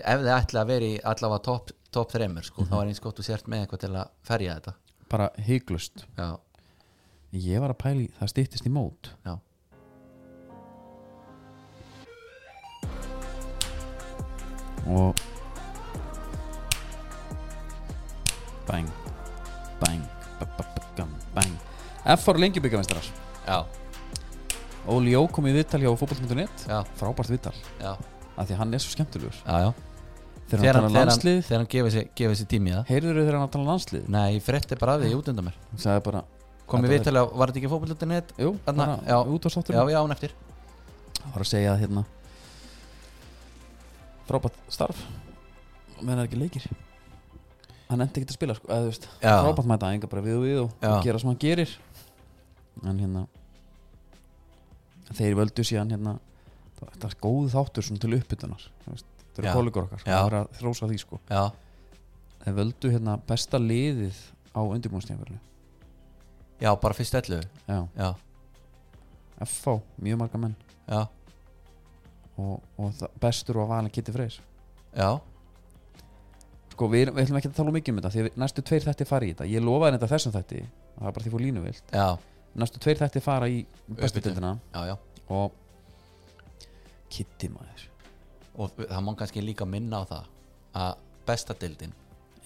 [SPEAKER 3] Ef þið ætla að vera í allavega topp top þreymur sko, þá er eins gott þú sért með eitthvað til að ferja þetta
[SPEAKER 2] bara hygglust
[SPEAKER 3] Já,
[SPEAKER 2] ég var að pæli, það stýttist í mót
[SPEAKER 3] já
[SPEAKER 2] og bang bang ba- ba- ba- gam, bang F.R. lengi byggjarmestrar
[SPEAKER 3] Já,
[SPEAKER 2] Óli Jó kom í viðtal hjá fótboll.net
[SPEAKER 3] já,
[SPEAKER 2] frábært viðtal,
[SPEAKER 3] já,
[SPEAKER 2] af því að hann er svo skemmtilegur
[SPEAKER 3] já, já.
[SPEAKER 2] þegar hann tala landslið,
[SPEAKER 3] þegar hann gefið sér, gefið sér tími í það
[SPEAKER 2] heyrður þegar hann tala landslið
[SPEAKER 3] Nei, ég frétti bara af því út undan mér
[SPEAKER 2] hann sagði bara,
[SPEAKER 3] Komið
[SPEAKER 2] Þetta
[SPEAKER 3] við til að, var þetta ekki fótbollutinett?
[SPEAKER 2] jú,
[SPEAKER 3] Þarna,
[SPEAKER 2] bara,
[SPEAKER 3] já.
[SPEAKER 2] út á sáttur
[SPEAKER 3] Já, já, án eftir
[SPEAKER 2] Það var að segja að hérna frábært starf og meðan það er ekki leikir hann endi ekki að spila sko, eða, þú veist,
[SPEAKER 3] Já.
[SPEAKER 2] frábært mæta enga bara við og við og,
[SPEAKER 3] Já.
[SPEAKER 2] og gera sem hann gerir en hérna þeir völdu síðan hérna það- þetta er góð þáttur svona til uppbytunar þetta
[SPEAKER 3] Já.
[SPEAKER 2] eru kollegur okkar,
[SPEAKER 3] Já.
[SPEAKER 2] það er að þrósa því sko
[SPEAKER 3] Já,
[SPEAKER 2] þeir völdu hérna besta liðið á undirbúinstjafurlu
[SPEAKER 3] já, bara fyrst ellu
[SPEAKER 2] já,
[SPEAKER 3] Já,
[SPEAKER 2] FH, mjög marga menn
[SPEAKER 3] já,
[SPEAKER 2] og, og það, bestur og að valin Kitty Freyr
[SPEAKER 3] já,
[SPEAKER 2] sko við, erum- við ætlum ekki að tala um mikið um þetta því að næstu tveir þætti fara í þetta ég lofaði þetta þessum þætti það er bara því fór línu vilt
[SPEAKER 3] já,
[SPEAKER 2] næstu tveir þætti fara í bestu
[SPEAKER 3] Uppbytun.
[SPEAKER 2] deildina
[SPEAKER 3] já, já
[SPEAKER 2] og kitti maður
[SPEAKER 3] Og það má kannski líka minna á það að besta dildin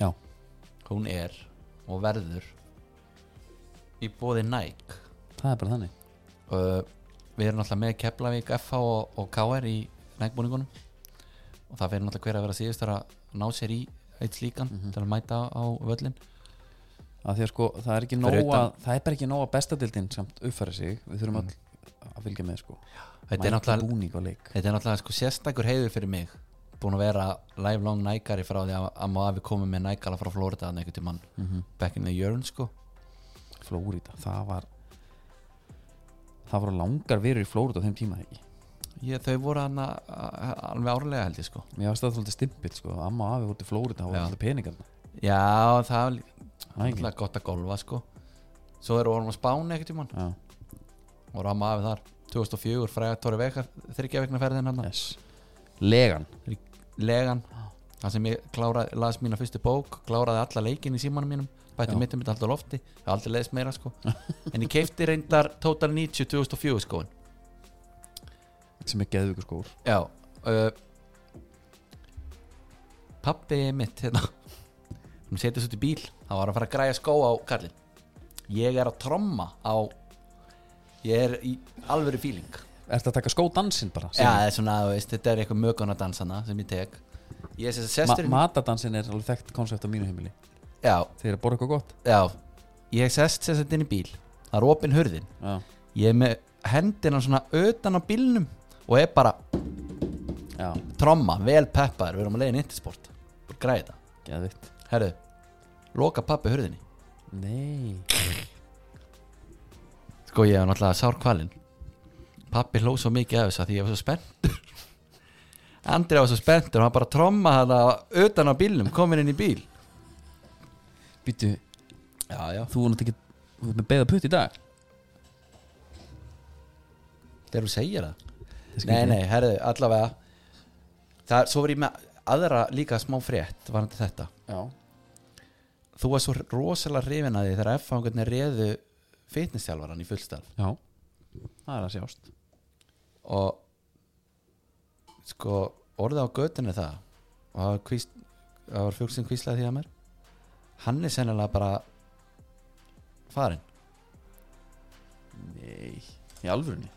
[SPEAKER 2] já,
[SPEAKER 3] hún er og verður í bóði Nike
[SPEAKER 2] það er bara þannig
[SPEAKER 3] uh, við erum alltaf með Keflavík, FH og, og KR í nægbúningunum og það verður náttúrulega hver að vera síðust að ná sér í eitt slíkan til að mæta á völlin
[SPEAKER 2] að því að sko það er ekki
[SPEAKER 3] Fyrir
[SPEAKER 2] nóg að
[SPEAKER 3] utan- Mm.
[SPEAKER 2] það er bara ekki nóg að bestadildin samt uppfæra sig við þurfum all að fylgja með sko
[SPEAKER 3] þetta er
[SPEAKER 2] Mæta í
[SPEAKER 3] náttúrulega,
[SPEAKER 2] búning á leik
[SPEAKER 3] þetta er náttúrulega sko, sérstakur heiður fyrir mig búin að vera lifelong nækari frá því að amma og afi komið með nækala frá Florida þannig einhvern tímann back in the year sko.
[SPEAKER 2] Flórida, það var það voru langar verið í Flórida á þeim tíma ekki
[SPEAKER 3] ég, þau voru hann alveg árlega held ég sko
[SPEAKER 2] mér varst það svolítið stimpill sko amma og afi voru til Flórida, það voru
[SPEAKER 3] Já.
[SPEAKER 2] alltaf peningarna
[SPEAKER 3] já, það var lí-
[SPEAKER 2] Það er ekki.
[SPEAKER 3] náttúrulega gott að golfa sko svo erum við á Spáni einhvern tímann
[SPEAKER 2] Já,
[SPEAKER 3] og ramma afið þar 2004 fræða Tóri Vekar þryggja vegna ferðin hann
[SPEAKER 2] yes. Legan
[SPEAKER 3] legan það sem ég kláraði, las mína fyrstu bók kláraði alla leikin í símanum mínum bætti
[SPEAKER 2] Já.
[SPEAKER 3] mitt um þetta alltaf lofti það er aldrei leiðist meira sko en ég keipti reyndar Total 90 2004 skóin
[SPEAKER 2] sem er geðvíkur skór
[SPEAKER 3] já uh, pappi mitt hérna hún setjast út í bíl það var að fara að græja skó á kallin ég er að tromma á ég er í alvöru fíling
[SPEAKER 2] Ertu að taka skódansinn bara?
[SPEAKER 3] Já, það er svona, þú veist, þetta er eitthvað mögunadansana sem ég tek Ég sé að sestur
[SPEAKER 2] Ma Matadansin er alveg þekkt konsept á mínu heimili
[SPEAKER 3] Já,
[SPEAKER 2] Þeir eru að borða eitthvað gott
[SPEAKER 3] já Ég sest sest þetta inn í bíl Það er opin hurðin
[SPEAKER 2] Já,
[SPEAKER 3] Ég er með hendina svona utan á bílnum Og er bara
[SPEAKER 2] já,
[SPEAKER 3] tromma, vel peppaður Við erum að leiðin intersport Bara græði þetta
[SPEAKER 2] geðvitt
[SPEAKER 3] Herðu, loka pappi hurðinni
[SPEAKER 2] Nei,
[SPEAKER 3] Sko, ég er náttúrulega sár kvalinn Pappi hló svo mikið af þessu að því ég var svo spenntur Andri var svo spenntur og hann bara tromma hana utan á bílnum, komin inn í bíl
[SPEAKER 2] býtu,
[SPEAKER 3] Já, já
[SPEAKER 2] þú voru ekki Þú ert með beða putt í dag
[SPEAKER 3] Þegar þú segir það
[SPEAKER 2] Ég skil
[SPEAKER 3] Nei,
[SPEAKER 2] ekki.
[SPEAKER 3] nei, herðu, allavega það, Svo var ég með aðra líka smá frétt varandi þetta
[SPEAKER 2] Já,
[SPEAKER 3] Þú var svo rosalega hrifin að því þegar F-fangarnir reðu fitnesstjálfaran í fullstall
[SPEAKER 2] já Það er að sjást
[SPEAKER 3] og sko, orðið á götunni það og það var, kvísl, það var fugl sem kvíslaði því að mér hann er sennilega bara farinn
[SPEAKER 2] Nei, í alvörunni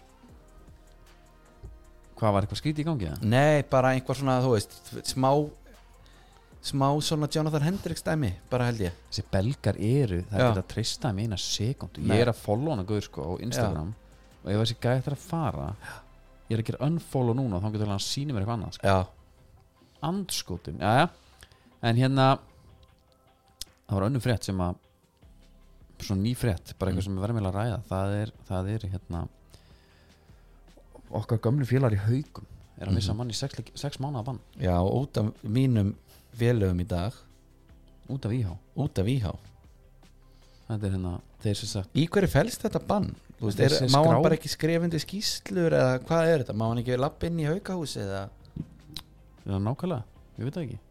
[SPEAKER 2] Hvað var eitthvað skrítið í gangi það?
[SPEAKER 3] Nei, bara einhver svona, þú veist smá smá svona Jonathan Hendricks dæmi bara held ég
[SPEAKER 2] Þessi belgar eru, það er
[SPEAKER 3] Já.
[SPEAKER 2] ekki að treysta þeim í eina sekundu
[SPEAKER 3] Nei.
[SPEAKER 2] Ég er að follow hana guður sko á Instagram Og ef þessi gæði þetta að fara Ég er að gera unfollow núna og þá getur hann sýnir mér eitthvað annað sko.
[SPEAKER 3] Já,
[SPEAKER 2] andskotum Jæja. en hérna það var önnum frétt sem að svona ný frétt, bara eitthvað sem við verðum eiginlega að ræða það er, það er hérna okkar gömlu félagar í haugum er að missa mann í sex, leik- sex mánuða bann
[SPEAKER 3] Já, og út af mínum félögum í dag
[SPEAKER 2] út af íhá
[SPEAKER 3] Út af íhá
[SPEAKER 2] þetta er hérna, þeir sem sagt
[SPEAKER 3] Í hverju fælst þetta bann? Þú veist, er,
[SPEAKER 2] Þessi
[SPEAKER 3] má
[SPEAKER 2] skrá-
[SPEAKER 3] hann bara ekki skrifindi skýslur eða hvað er þetta? Má hann ekki lappa inn í haukahúsi eða
[SPEAKER 2] er það nákvæmlega, ég veit það ekki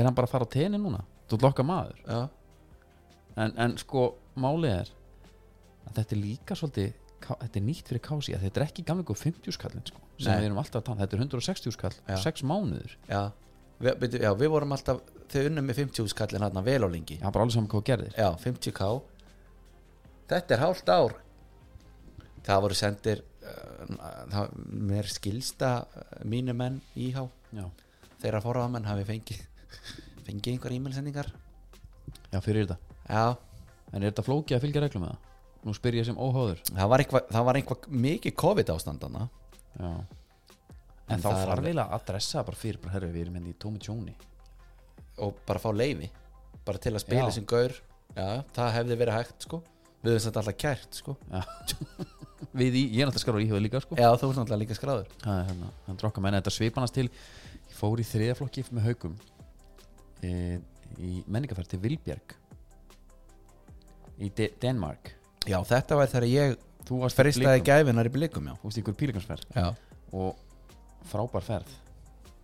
[SPEAKER 2] er hann bara að fara á teni núna þú ert lokka maður,
[SPEAKER 3] Já,
[SPEAKER 2] en, en sko málið er að þetta er líka svolítið K- þetta er nýtt fyrir kási að þetta er ekki gamlega 50 skallin sko, sem
[SPEAKER 3] Nei.
[SPEAKER 2] við erum alltaf að tala þetta er 160 skall,
[SPEAKER 3] Já.
[SPEAKER 2] 6 mánuður
[SPEAKER 3] já. Vi, byrju, já Við vorum alltaf þau unnum með 50 skallin hann vel á lengi
[SPEAKER 2] Já, bara alveg saman hvað þú gerðir
[SPEAKER 3] Já, 50k Þetta er hálft ár Það voru sendir uh, það, mér skilsta uh, mínu menn íhá
[SPEAKER 2] Já,
[SPEAKER 3] þeirra forraðamenn hafi fengið fengið einhver e-mailsendingar
[SPEAKER 2] fyrir þetta
[SPEAKER 3] Já,
[SPEAKER 2] En er þetta flókið að fylgja reglum með það? Nú spyr ég sem óháður
[SPEAKER 3] það var eitthvað, það var eitthvað mikið COVID ástandana
[SPEAKER 2] Já En,
[SPEAKER 3] En
[SPEAKER 2] þá
[SPEAKER 3] það er
[SPEAKER 2] þarf
[SPEAKER 3] alveg-
[SPEAKER 2] vel að adressa bara fyrir bara herri við erum henni í tómi tjóni
[SPEAKER 3] og bara fá leiði bara til að spila
[SPEAKER 2] Já.
[SPEAKER 3] sem gaur já, það hefði verið hægt sko við höfum þetta alltaf kært sko
[SPEAKER 2] Já Við í, ég er náttúrulega skarur íhjóð líka sko
[SPEAKER 3] já, þú ert náttúrulega líka skráður
[SPEAKER 2] Það er hérna, hann drokka menna þetta svipanast til Ég fór í þriðaflokki með haugum e, Í menningarferð til Vilbjerg Í De Danmark
[SPEAKER 3] já, þetta var þegar ég
[SPEAKER 2] Þú varst í
[SPEAKER 3] fristaði
[SPEAKER 2] Blikum.
[SPEAKER 3] gæfinar í blikum já,
[SPEAKER 2] Þú veist í einhver pílikansferð
[SPEAKER 3] já.
[SPEAKER 2] og frábær ferð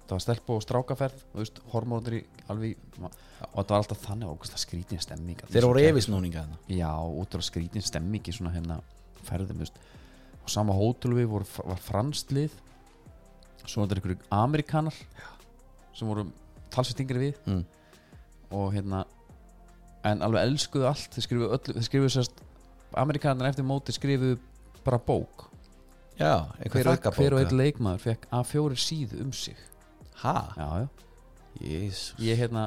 [SPEAKER 2] það var stelpu og strákaferð og þú veist, hormónir í alveg og þetta var alltaf þannig og það skrítin stemming
[SPEAKER 3] þeir voru yfirsnúninga þarna
[SPEAKER 2] já, út var skrítin stemming í svona hérna ferðum, þú veist og sama hótel við voru, var franslið svo var þetta einhverju amerikanar sem voru talsett yngri við
[SPEAKER 3] mm.
[SPEAKER 2] og hérna en alveg elskuðu allt, þeir skrifuðu öllu þeir skrifuðu sérst, amerikanar eftir móti skrifuðu bara bók
[SPEAKER 3] já,
[SPEAKER 2] hver,
[SPEAKER 3] einhver
[SPEAKER 2] og- hver og einn
[SPEAKER 3] þakkabók
[SPEAKER 2] leikmaður fekk A4 síðu um sig
[SPEAKER 3] ha,
[SPEAKER 2] já, já.
[SPEAKER 3] jésus
[SPEAKER 2] ég hérna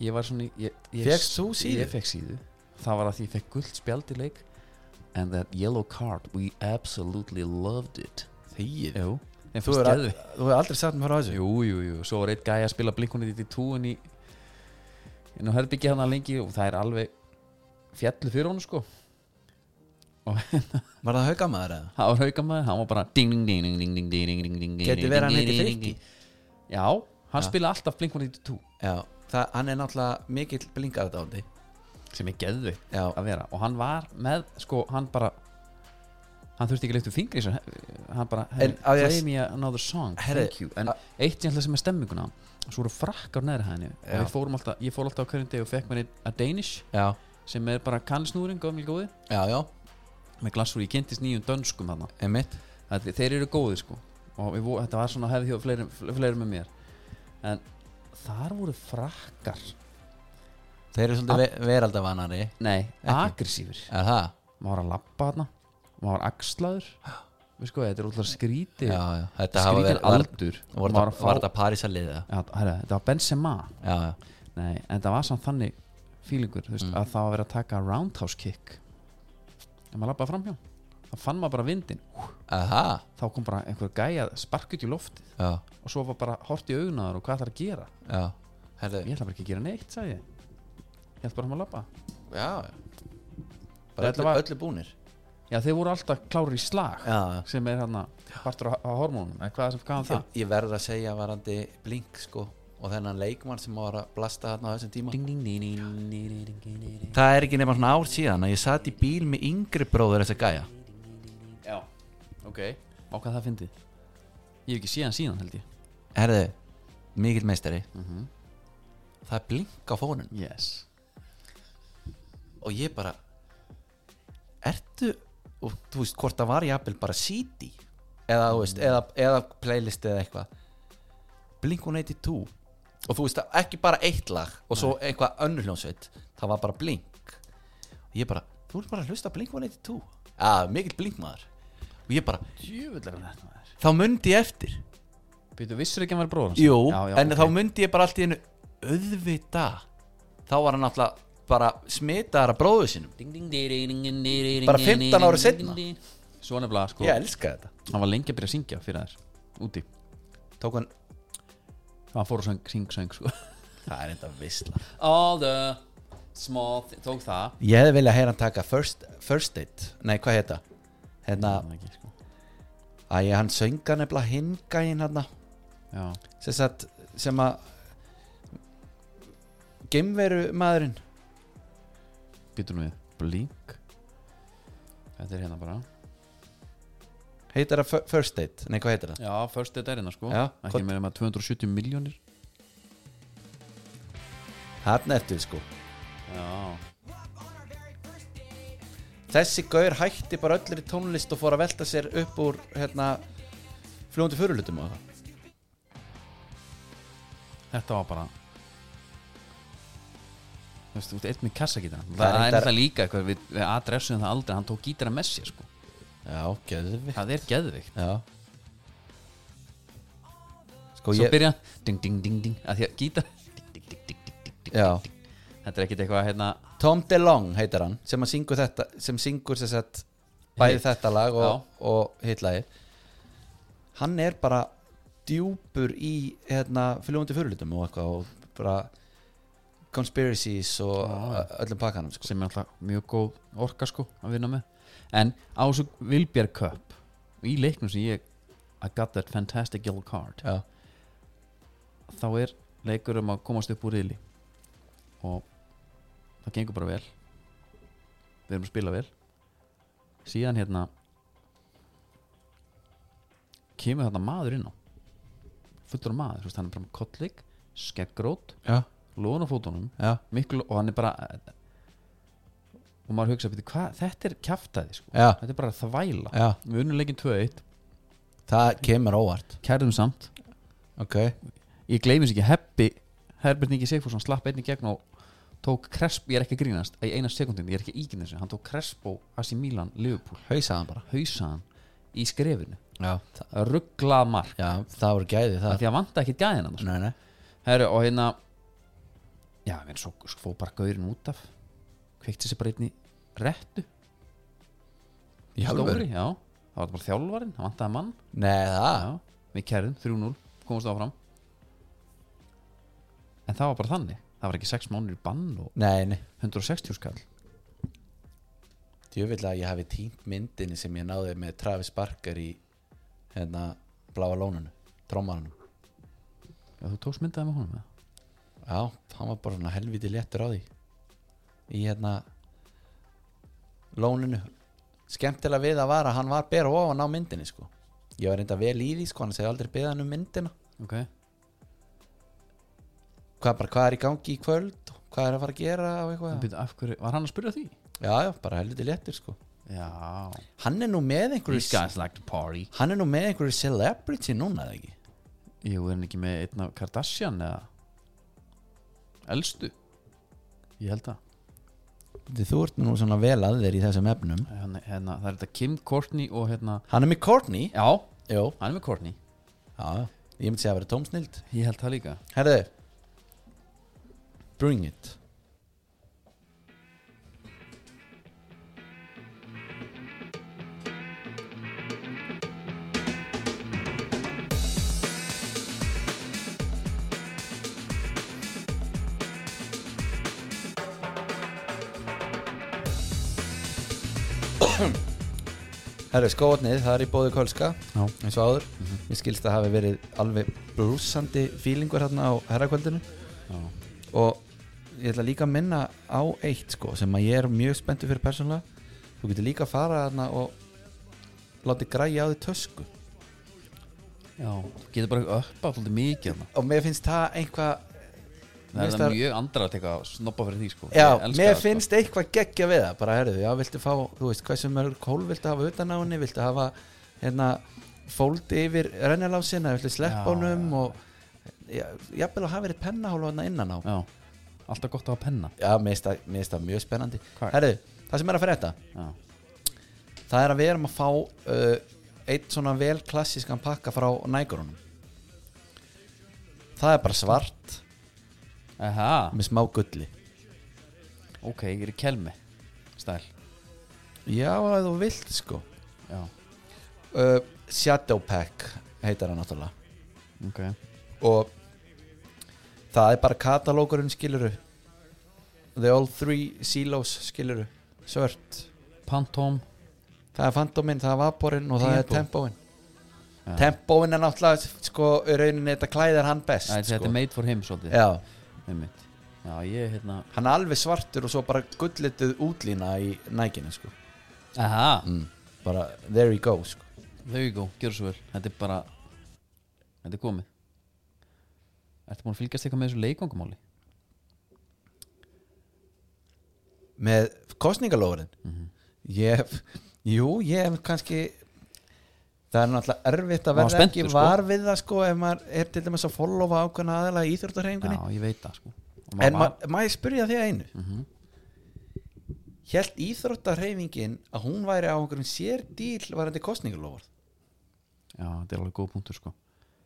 [SPEAKER 2] ég var svona í- ég, ég,
[SPEAKER 3] Fékkst þú síðu?
[SPEAKER 2] ég fekk síðu það var að því ég fekk gult spjald í leik and that yellow card we absolutely loved it
[SPEAKER 3] þýð
[SPEAKER 2] jú Nei,
[SPEAKER 3] þú
[SPEAKER 2] fannst
[SPEAKER 3] hefur
[SPEAKER 2] geðveikt.
[SPEAKER 3] þú hefur aldrei sagt mér frá þessu
[SPEAKER 2] jú, jú, jú, svo var einn gæja að spila blinkunni í túin í inn á herbyggja hana lengi og það er alveg fjallu fyrir honum sko
[SPEAKER 3] var það haugamaður eða?
[SPEAKER 2] það var haukamæður, hann var bara ding, ding, ding, ding, ding, ding, ding, ding, ding, ding,
[SPEAKER 3] Gæti
[SPEAKER 2] ding,
[SPEAKER 3] verið
[SPEAKER 2] ding,
[SPEAKER 3] hann heiti
[SPEAKER 2] ding, ding,
[SPEAKER 3] Frikki?
[SPEAKER 2] ding. já, hann spila alltaf Blink-182
[SPEAKER 3] já, það, hann er náttúrulega mikill blingarðdándi
[SPEAKER 2] sem er geðvitt
[SPEAKER 3] já,
[SPEAKER 2] að vera og hann var með sko hann bara hann þurfti ekki leitt um fingri sér hann bara hey,
[SPEAKER 3] En, á ég að
[SPEAKER 2] play
[SPEAKER 3] s-
[SPEAKER 2] me another song
[SPEAKER 3] Herri,
[SPEAKER 2] thank you en
[SPEAKER 3] a-
[SPEAKER 2] eitt ég ætla sem er stemminguna svo voru frakkar neðri hæðinni og
[SPEAKER 3] Já.
[SPEAKER 2] við fórum alltaf ég fór alltaf á hverjum deg og fekk mér einn að Danish
[SPEAKER 3] já,
[SPEAKER 2] sem er bara kannsnúrin gömul góði
[SPEAKER 3] já, já
[SPEAKER 2] með glassúr ég kynntist nýjum dönskum þarna
[SPEAKER 3] einmitt
[SPEAKER 2] Þetta- þeir eru góði sko og við, vo- þetta var svona hefði hjá fleirum, fleirum með mér en þar voru frakkar
[SPEAKER 3] þeir eru svolítið ve veraldavanari
[SPEAKER 2] nei,
[SPEAKER 3] Ekki.
[SPEAKER 2] agressífur
[SPEAKER 3] er það?
[SPEAKER 2] maður var að lappa þarna maður var axlaður við sko, þetta er útlar skrítið
[SPEAKER 3] já, já, þetta hafa
[SPEAKER 2] skrítin
[SPEAKER 3] verið
[SPEAKER 2] aldur
[SPEAKER 3] var,
[SPEAKER 2] maður
[SPEAKER 3] var,
[SPEAKER 2] að
[SPEAKER 3] var
[SPEAKER 2] fá-
[SPEAKER 3] þetta París að liða
[SPEAKER 2] Já, herra, þetta var Benzema
[SPEAKER 3] já, já,
[SPEAKER 2] Nei, en það var samt þannig fílingur þú veist,
[SPEAKER 3] Mm.
[SPEAKER 2] að það var verið að taka roundhouse kick en maður lappaði framhjá það fann maður bara vindin
[SPEAKER 3] aha
[SPEAKER 2] þá kom bara einhver gæja sparkut í loftið
[SPEAKER 3] já,
[SPEAKER 2] og svo var bara hort í augnaður og hvað það er að gera
[SPEAKER 3] já, herðu
[SPEAKER 2] ég ætla bara ekki að gera neitt, sagði ég ég ætla bara að maður lappa
[SPEAKER 3] já
[SPEAKER 2] Þetta
[SPEAKER 3] bara öllu,
[SPEAKER 2] var-
[SPEAKER 3] öllu búnir
[SPEAKER 2] já, þeir voru alltaf klárir í slag
[SPEAKER 3] já,
[SPEAKER 2] sem er hérna partur á, á hormónum eða hvað, hvað er
[SPEAKER 3] ég,
[SPEAKER 2] það?
[SPEAKER 3] ég verður að segja varandi blink sko og þennan leikmann sem var að blasta þarna á þessum tíma
[SPEAKER 2] Ding, ding, ding, ding, ding, ding, ding, ding, ding, ding.
[SPEAKER 3] það er ekki nema svona ár síðan að ég satt í bíl með yngri bróður þess að gæja
[SPEAKER 2] Já, ok Á hvað það fyndið? Ég hef ekki séð hann síðan held ég
[SPEAKER 3] herðu, mikill meistari það er blink á fónun
[SPEAKER 2] Yes
[SPEAKER 3] og ég bara ertu og þú veist hvort það var jafnvel bara CD eða, þú veist, eða, eða playlist eða eitthvað Blink-182 og þú veist það ekki bara eitt lag og svo eitthvað önnur hljónsveit það var bara Blink og ég bara, þú ert bara að hlusta á Blink-182 að, mikill Blink-maður og ég bara,
[SPEAKER 2] Djöfullar er þetta maður
[SPEAKER 3] þá mundi ég eftir
[SPEAKER 2] Býtu, vissir ekki að hann var bróðan?
[SPEAKER 3] Jú,
[SPEAKER 2] já, já,
[SPEAKER 3] en
[SPEAKER 2] ok.
[SPEAKER 3] þá mundi ég bara allt í hennu auðvita þá var hann alltaf bara smitaðar að bróðu sinum
[SPEAKER 2] Ding, ding, ding, ding, ding, ding, ding, ding,
[SPEAKER 3] Bara
[SPEAKER 2] ding, ding,
[SPEAKER 3] 15 ári
[SPEAKER 2] ding,
[SPEAKER 3] seinna.
[SPEAKER 2] ding, ding. Svo nefnilega, sko
[SPEAKER 3] ég elska þetta
[SPEAKER 2] Hann var lengi að byrja að syngja fyrir þær Úti
[SPEAKER 3] tók hann
[SPEAKER 2] Hann fór og söng, syng, söng, sko
[SPEAKER 3] Það er enda visla
[SPEAKER 2] All the small thi- Tók það
[SPEAKER 3] Ég hefði viljað heyra hann taka first, first date Nei, hvað heita? Hérna,
[SPEAKER 2] Það ekki, sko
[SPEAKER 3] að ég hann sönga nefnilega hingæin hérna
[SPEAKER 2] Já
[SPEAKER 3] sem, sagt, sem að Gimveru maðurinn
[SPEAKER 2] Býtu nú við Blink Þetta er hérna bara
[SPEAKER 3] Heitir það fir- first date? Nei, hvað heitir það?
[SPEAKER 2] Já, first date er hérna, sko
[SPEAKER 3] Já,
[SPEAKER 2] Ekki
[SPEAKER 3] hvort-
[SPEAKER 2] meira með 270 miljónir
[SPEAKER 3] Hann ertu sko
[SPEAKER 2] Já
[SPEAKER 3] Þessi gaur hætti bara öllir í tónlist og fór að velta sér upp úr hérna fljóndi förulutum og það
[SPEAKER 2] Þetta var bara Þú veist, þú veist, eitt með kassagítarna Það,
[SPEAKER 3] Það er
[SPEAKER 2] það er
[SPEAKER 3] reyndar-
[SPEAKER 2] þetta líka eitthvað við, við adressuðum það aldrei Hann tók gítara með sér, sko
[SPEAKER 3] Já, geðvikt
[SPEAKER 2] Það er geðvikt
[SPEAKER 3] Já Sko
[SPEAKER 2] Svo
[SPEAKER 3] ég
[SPEAKER 2] byrja Ding, ding, ding, ding að Því að gítar ding, ding, ding, ding, ding, ding, ding,
[SPEAKER 3] Já.
[SPEAKER 2] ding. Þetta er ekkit eitthvað, hérna
[SPEAKER 3] Tom DeLong heitir hann sem að syngur þetta sem syngur þess að bæði
[SPEAKER 2] Hitt.
[SPEAKER 3] þetta lag og,
[SPEAKER 2] Já.
[SPEAKER 3] og hitlaði hann er bara djúpur í hérna, fylgjóndi fyrirlutum og eitthvað og bara conspiracies og
[SPEAKER 2] Já.
[SPEAKER 3] öllum pakkanum sko.
[SPEAKER 2] Sem er alltaf mjög góð orka, sko Að vinna með En á svo Vilbjörg Cup Í leiknum sem ég I got that fantastic yellow card
[SPEAKER 3] Já.
[SPEAKER 2] þá er leikur um að komast upp úr riðli og það gengur bara vel við erum að spila vel síðan hérna kemur þarna maður inn á fullur af maður, þú veist, hann er bara með kollík skeggrót,
[SPEAKER 3] Já.
[SPEAKER 2] lóðan á fótunum
[SPEAKER 3] Já.
[SPEAKER 2] miklu, og hann er bara eh, og maður hugsa, "Bíddu, hvað, þetta er kjaftaði sko.
[SPEAKER 3] Já.
[SPEAKER 2] þetta er bara þvæla
[SPEAKER 3] Já.
[SPEAKER 2] við unnum leikinn 2-1,
[SPEAKER 3] það kemur óvart
[SPEAKER 2] kærðum samt
[SPEAKER 3] okay.
[SPEAKER 2] ég gleymis ekki Heppi Herbert Ingi Sigfússon slapp einni gegn og tók Crespo, ég er ekki að grínast í eina sekundin, ég er ekki að íkynna þessu, hann tók Crespo AC Milan, Liverpool,
[SPEAKER 3] hausaðan bara
[SPEAKER 2] hausaðan í skrefinu
[SPEAKER 3] já,
[SPEAKER 2] ruggla mark
[SPEAKER 3] já, það voru gæði
[SPEAKER 2] af
[SPEAKER 3] það
[SPEAKER 2] því að vanta ekki gæðina maður.
[SPEAKER 3] nei, nei.
[SPEAKER 2] Herru, og hérna já, menn, svo svo fór bara gaurin út af kveikti sér bara einn í réttu
[SPEAKER 3] Í
[SPEAKER 2] stóri,
[SPEAKER 3] alvöru?
[SPEAKER 2] já, það var bara þjálfarinn það vantaði mann,
[SPEAKER 3] Nei, það
[SPEAKER 2] já, við kerðum 3-0, komumst áfram en það var bara þannig það var ekki 6 mánuðir í bann og
[SPEAKER 3] Nei, nei
[SPEAKER 2] 160 skall
[SPEAKER 3] Ég vil að ég hafi týnt myndinni sem ég náði með Travis Barker í hérna bláa lóninu, trómaninu
[SPEAKER 2] Já, þú tókst myndaði með honum eða?
[SPEAKER 3] Já, hann var bara svona helviti léttur á því í hérna lóninu skemmtilega við að vara, hann var bera ofan á myndinni sko ég var reynda vel í því sko, hann segi aldrei beða hann um myndina
[SPEAKER 2] Ok,
[SPEAKER 3] hvað, bara, hvað er í gangi í kvöld og hvað er að fara að gera og
[SPEAKER 2] en
[SPEAKER 3] eitthvað
[SPEAKER 2] býttu af hverju, var hann að spyrja því?
[SPEAKER 3] já, já, bara helviti léttur sko
[SPEAKER 2] Já
[SPEAKER 3] hann er nú með
[SPEAKER 2] These
[SPEAKER 3] einhverju
[SPEAKER 2] guys like to party
[SPEAKER 3] hann er nú með einhverju celebrity núna eða ekki
[SPEAKER 2] Jú, er hann ekki með einn af Kardashian eða Elstu Ég held að
[SPEAKER 3] Þið, þú ert nú svona vel að þér í þessum efnum
[SPEAKER 2] hérna, hérna, Það er þetta Kim Courtney og hérna
[SPEAKER 3] Hann er með Courtney
[SPEAKER 2] Já,
[SPEAKER 3] Jó,
[SPEAKER 2] hann er með Courtney
[SPEAKER 3] já, ég myndi segja að vera tómsnild
[SPEAKER 2] Ég held það líka
[SPEAKER 3] Herðu Bring it Herru, skóðnið, það er í bóði Kölska
[SPEAKER 2] Já.
[SPEAKER 3] eins og áður Mér skilst að hafi verið alveg brúsandi fílingur hérna á herrakvöldinu
[SPEAKER 2] Já.
[SPEAKER 3] og ég ætla líka að minna á eitt sko, sem að ég er mjög spenntu fyrir persónulega Þú getur líka að fara hérna og láti græja á því tösku
[SPEAKER 2] Já Þú getur bara upp að svolítið mikið hérna.
[SPEAKER 3] og mér finnst það einhvað
[SPEAKER 2] Það er það mjög andra að teka að snoppa fyrir því sko
[SPEAKER 3] Já,
[SPEAKER 2] Ég elska
[SPEAKER 3] mér
[SPEAKER 2] það, sko.
[SPEAKER 3] finnst eitthvað geggja við það bara herðu, já, viltu fá, þú veist, hversu mörg hól viltu hafa utan á henni, viltu hafa hérna, fóld yfir rennilásinna, viltu
[SPEAKER 2] Já,
[SPEAKER 3] sleppa honum
[SPEAKER 2] já,
[SPEAKER 3] og já, jafnvel að hafa verið pennahól hérna innan á
[SPEAKER 2] Já Alltaf gott að hafa penna
[SPEAKER 3] Já, mér finnst það- mér finnst það mjög spennandi
[SPEAKER 2] Hvað?
[SPEAKER 3] Herðu, það sem er að fyrir þetta
[SPEAKER 2] Já
[SPEAKER 3] það er að við erum að fá uh, eitt svona vel klassískan pakka frá nægurunum það er bara svart
[SPEAKER 2] Aha,
[SPEAKER 3] með smá gulli
[SPEAKER 2] ok, ég er í kelmi Stæl
[SPEAKER 3] Já, ef þú vilt sko
[SPEAKER 2] Já,
[SPEAKER 3] uh, Shadow Pack heitar það náttúrulega
[SPEAKER 2] ok
[SPEAKER 3] og það er bara katalókurinn skiluru The All Three Silos skiluru svört,
[SPEAKER 2] Pantóm
[SPEAKER 3] það er Fantominn, það er Vaporinn og það er
[SPEAKER 2] Tempo.
[SPEAKER 3] Tempoinn
[SPEAKER 2] Já.
[SPEAKER 3] Tempoinn er náttúrulega sko í rauninni þetta klæðir hann best
[SPEAKER 2] Æ, Þetta
[SPEAKER 3] sko.
[SPEAKER 2] er made for him svolítið
[SPEAKER 3] Já,
[SPEAKER 2] Einmitt. Já, ég hérna
[SPEAKER 3] hann er alveg svartur og svo bara gullituð útlína í nækinu sko
[SPEAKER 2] Aha,
[SPEAKER 3] mm. bara there you go sko
[SPEAKER 2] there you go, gjör svo vel Þetta er bara Þetta er komið Ertu búin að fylgjast eitthvað með þessu leikangumáli?
[SPEAKER 3] með kostningalóðurinn ég hef, jú, ég hef kannski það er náttúrulega erfitt að
[SPEAKER 2] Maður
[SPEAKER 3] verða
[SPEAKER 2] spenntur,
[SPEAKER 3] ekki
[SPEAKER 2] sko.
[SPEAKER 3] var við það sko ef maður er til dæmis að followa ákveðna aðalega í
[SPEAKER 2] Já,
[SPEAKER 3] Íþjórtarhefingunni
[SPEAKER 2] ég veit það sko Og
[SPEAKER 3] en
[SPEAKER 2] maður
[SPEAKER 3] ma
[SPEAKER 2] var-
[SPEAKER 3] maður spurja því að einu mm
[SPEAKER 2] Mhm.
[SPEAKER 3] -hmm. Hjælt Íþróttarheifingin að hún væri á einhverjum sér díl varandi kostningalóður
[SPEAKER 2] Já, þetta er alveg góð punktur sko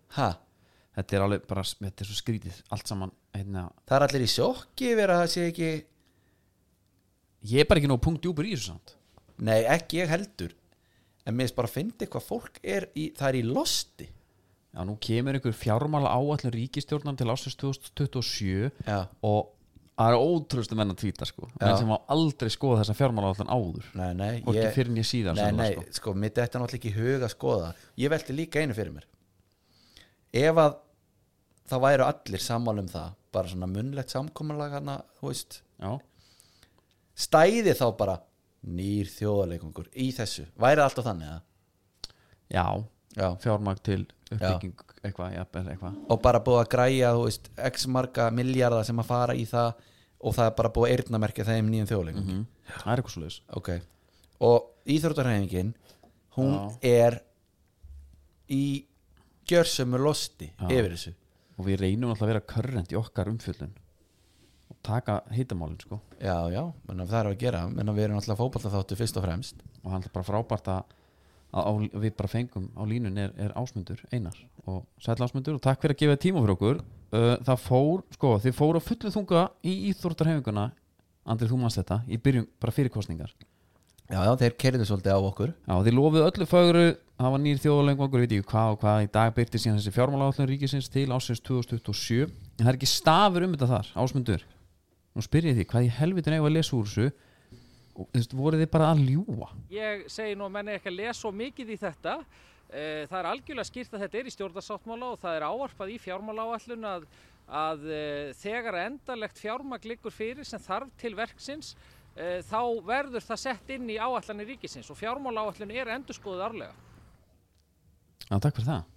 [SPEAKER 3] ha,
[SPEAKER 2] Þetta er alveg bara, þetta er svo skrítið Allt saman, hérna
[SPEAKER 3] það er allir í sjokki verið að það sé ekki
[SPEAKER 2] Ég er bara ekki nóg punkt djúpur í þessu samt
[SPEAKER 3] nei, ekki ég heldur en mér finnst bara að fyndi hvað fólk er í, það er í losti
[SPEAKER 2] Já, nú kemur einhver fjármála áallin ríkistjórnar til ásins 2027
[SPEAKER 3] Já.
[SPEAKER 2] og það er ótrúðustu menn að tvíta sko menn sem á aldrei skoða þessa fjármála áallin áður
[SPEAKER 3] Nei, nei
[SPEAKER 2] Hvorki fyrr en ég síðan,
[SPEAKER 3] Nei, nei,
[SPEAKER 2] sennilega,
[SPEAKER 3] sko, mér þetta náttúrulega ekki í hug að skoða Ég velti líka einu fyrir mér Ef að það væru allir sammála um það bara svona munlegt samkomulag hana, þú veist
[SPEAKER 2] Já,
[SPEAKER 3] stæði þá bara nýr þjóðarleikungur í þessu væri það alltaf þannig að
[SPEAKER 2] já
[SPEAKER 3] Já.
[SPEAKER 2] fjármagn til uppbygging eitthvað, jafnvel eitthvað
[SPEAKER 3] og bara búið að græja þú veist, x marga miljardar sem að fara í það og það er bara búið að eyrnamerkja þeim nýjum þjóðarleikungi
[SPEAKER 2] það er eitthvað svo leiðis
[SPEAKER 3] Ok Og íþróttarhæfingin Hún er Í gjörsömu losti Yfir þessu
[SPEAKER 2] og við reynum alltaf að vera körrend í okkar umfjöllun og taka hittamálin sko
[SPEAKER 3] Já, já, menna, það er að gera Menna, Við erum alltaf fótballta þáttu fyrst og fremst
[SPEAKER 2] og hann er bara frábært að á, á, við bara fengum á línun er, er ásmundur einar og sæll ásmundur og takk fyrir að gefa þér tíma fyrir okkur uh, það fór, sko, þið fóru að fullu þunga í íþórtarhefinguna Andrið, þú manst þetta, í byrjun bara fyrirkostningar
[SPEAKER 3] Já, já, þeir kerðu svolítið á okkur
[SPEAKER 2] Já, þið lofið öllu fögru, það var nýr þjóðalengvangur, veit ég ekki hvað og hvað, í dag byrti síðan þessi fjármálaállun ríkisins til ásins 2027, en það er ekki stafur um þetta þar, ásmundur. Nú spyr ég því, hvað í helvitin eigum við að lesa úr þessu, og, þú veist, voruð þið bara að ljúa?
[SPEAKER 5] Ég segi nú að menn er ekki að lesa svo mikið í þetta. Eh, Það er algjörlega skýrt að þetta er í stjórnarsáttmála og það er ávarpað í fjármálaáallun að, að eh, þegar endalegt fjármagn liggur fyrir sem þarf til verksins eh, þá verður það sett inn í áallanir ríkisins og fjármálaáallun er endurskoðuð árlega.
[SPEAKER 2] Já, takk fyrir það.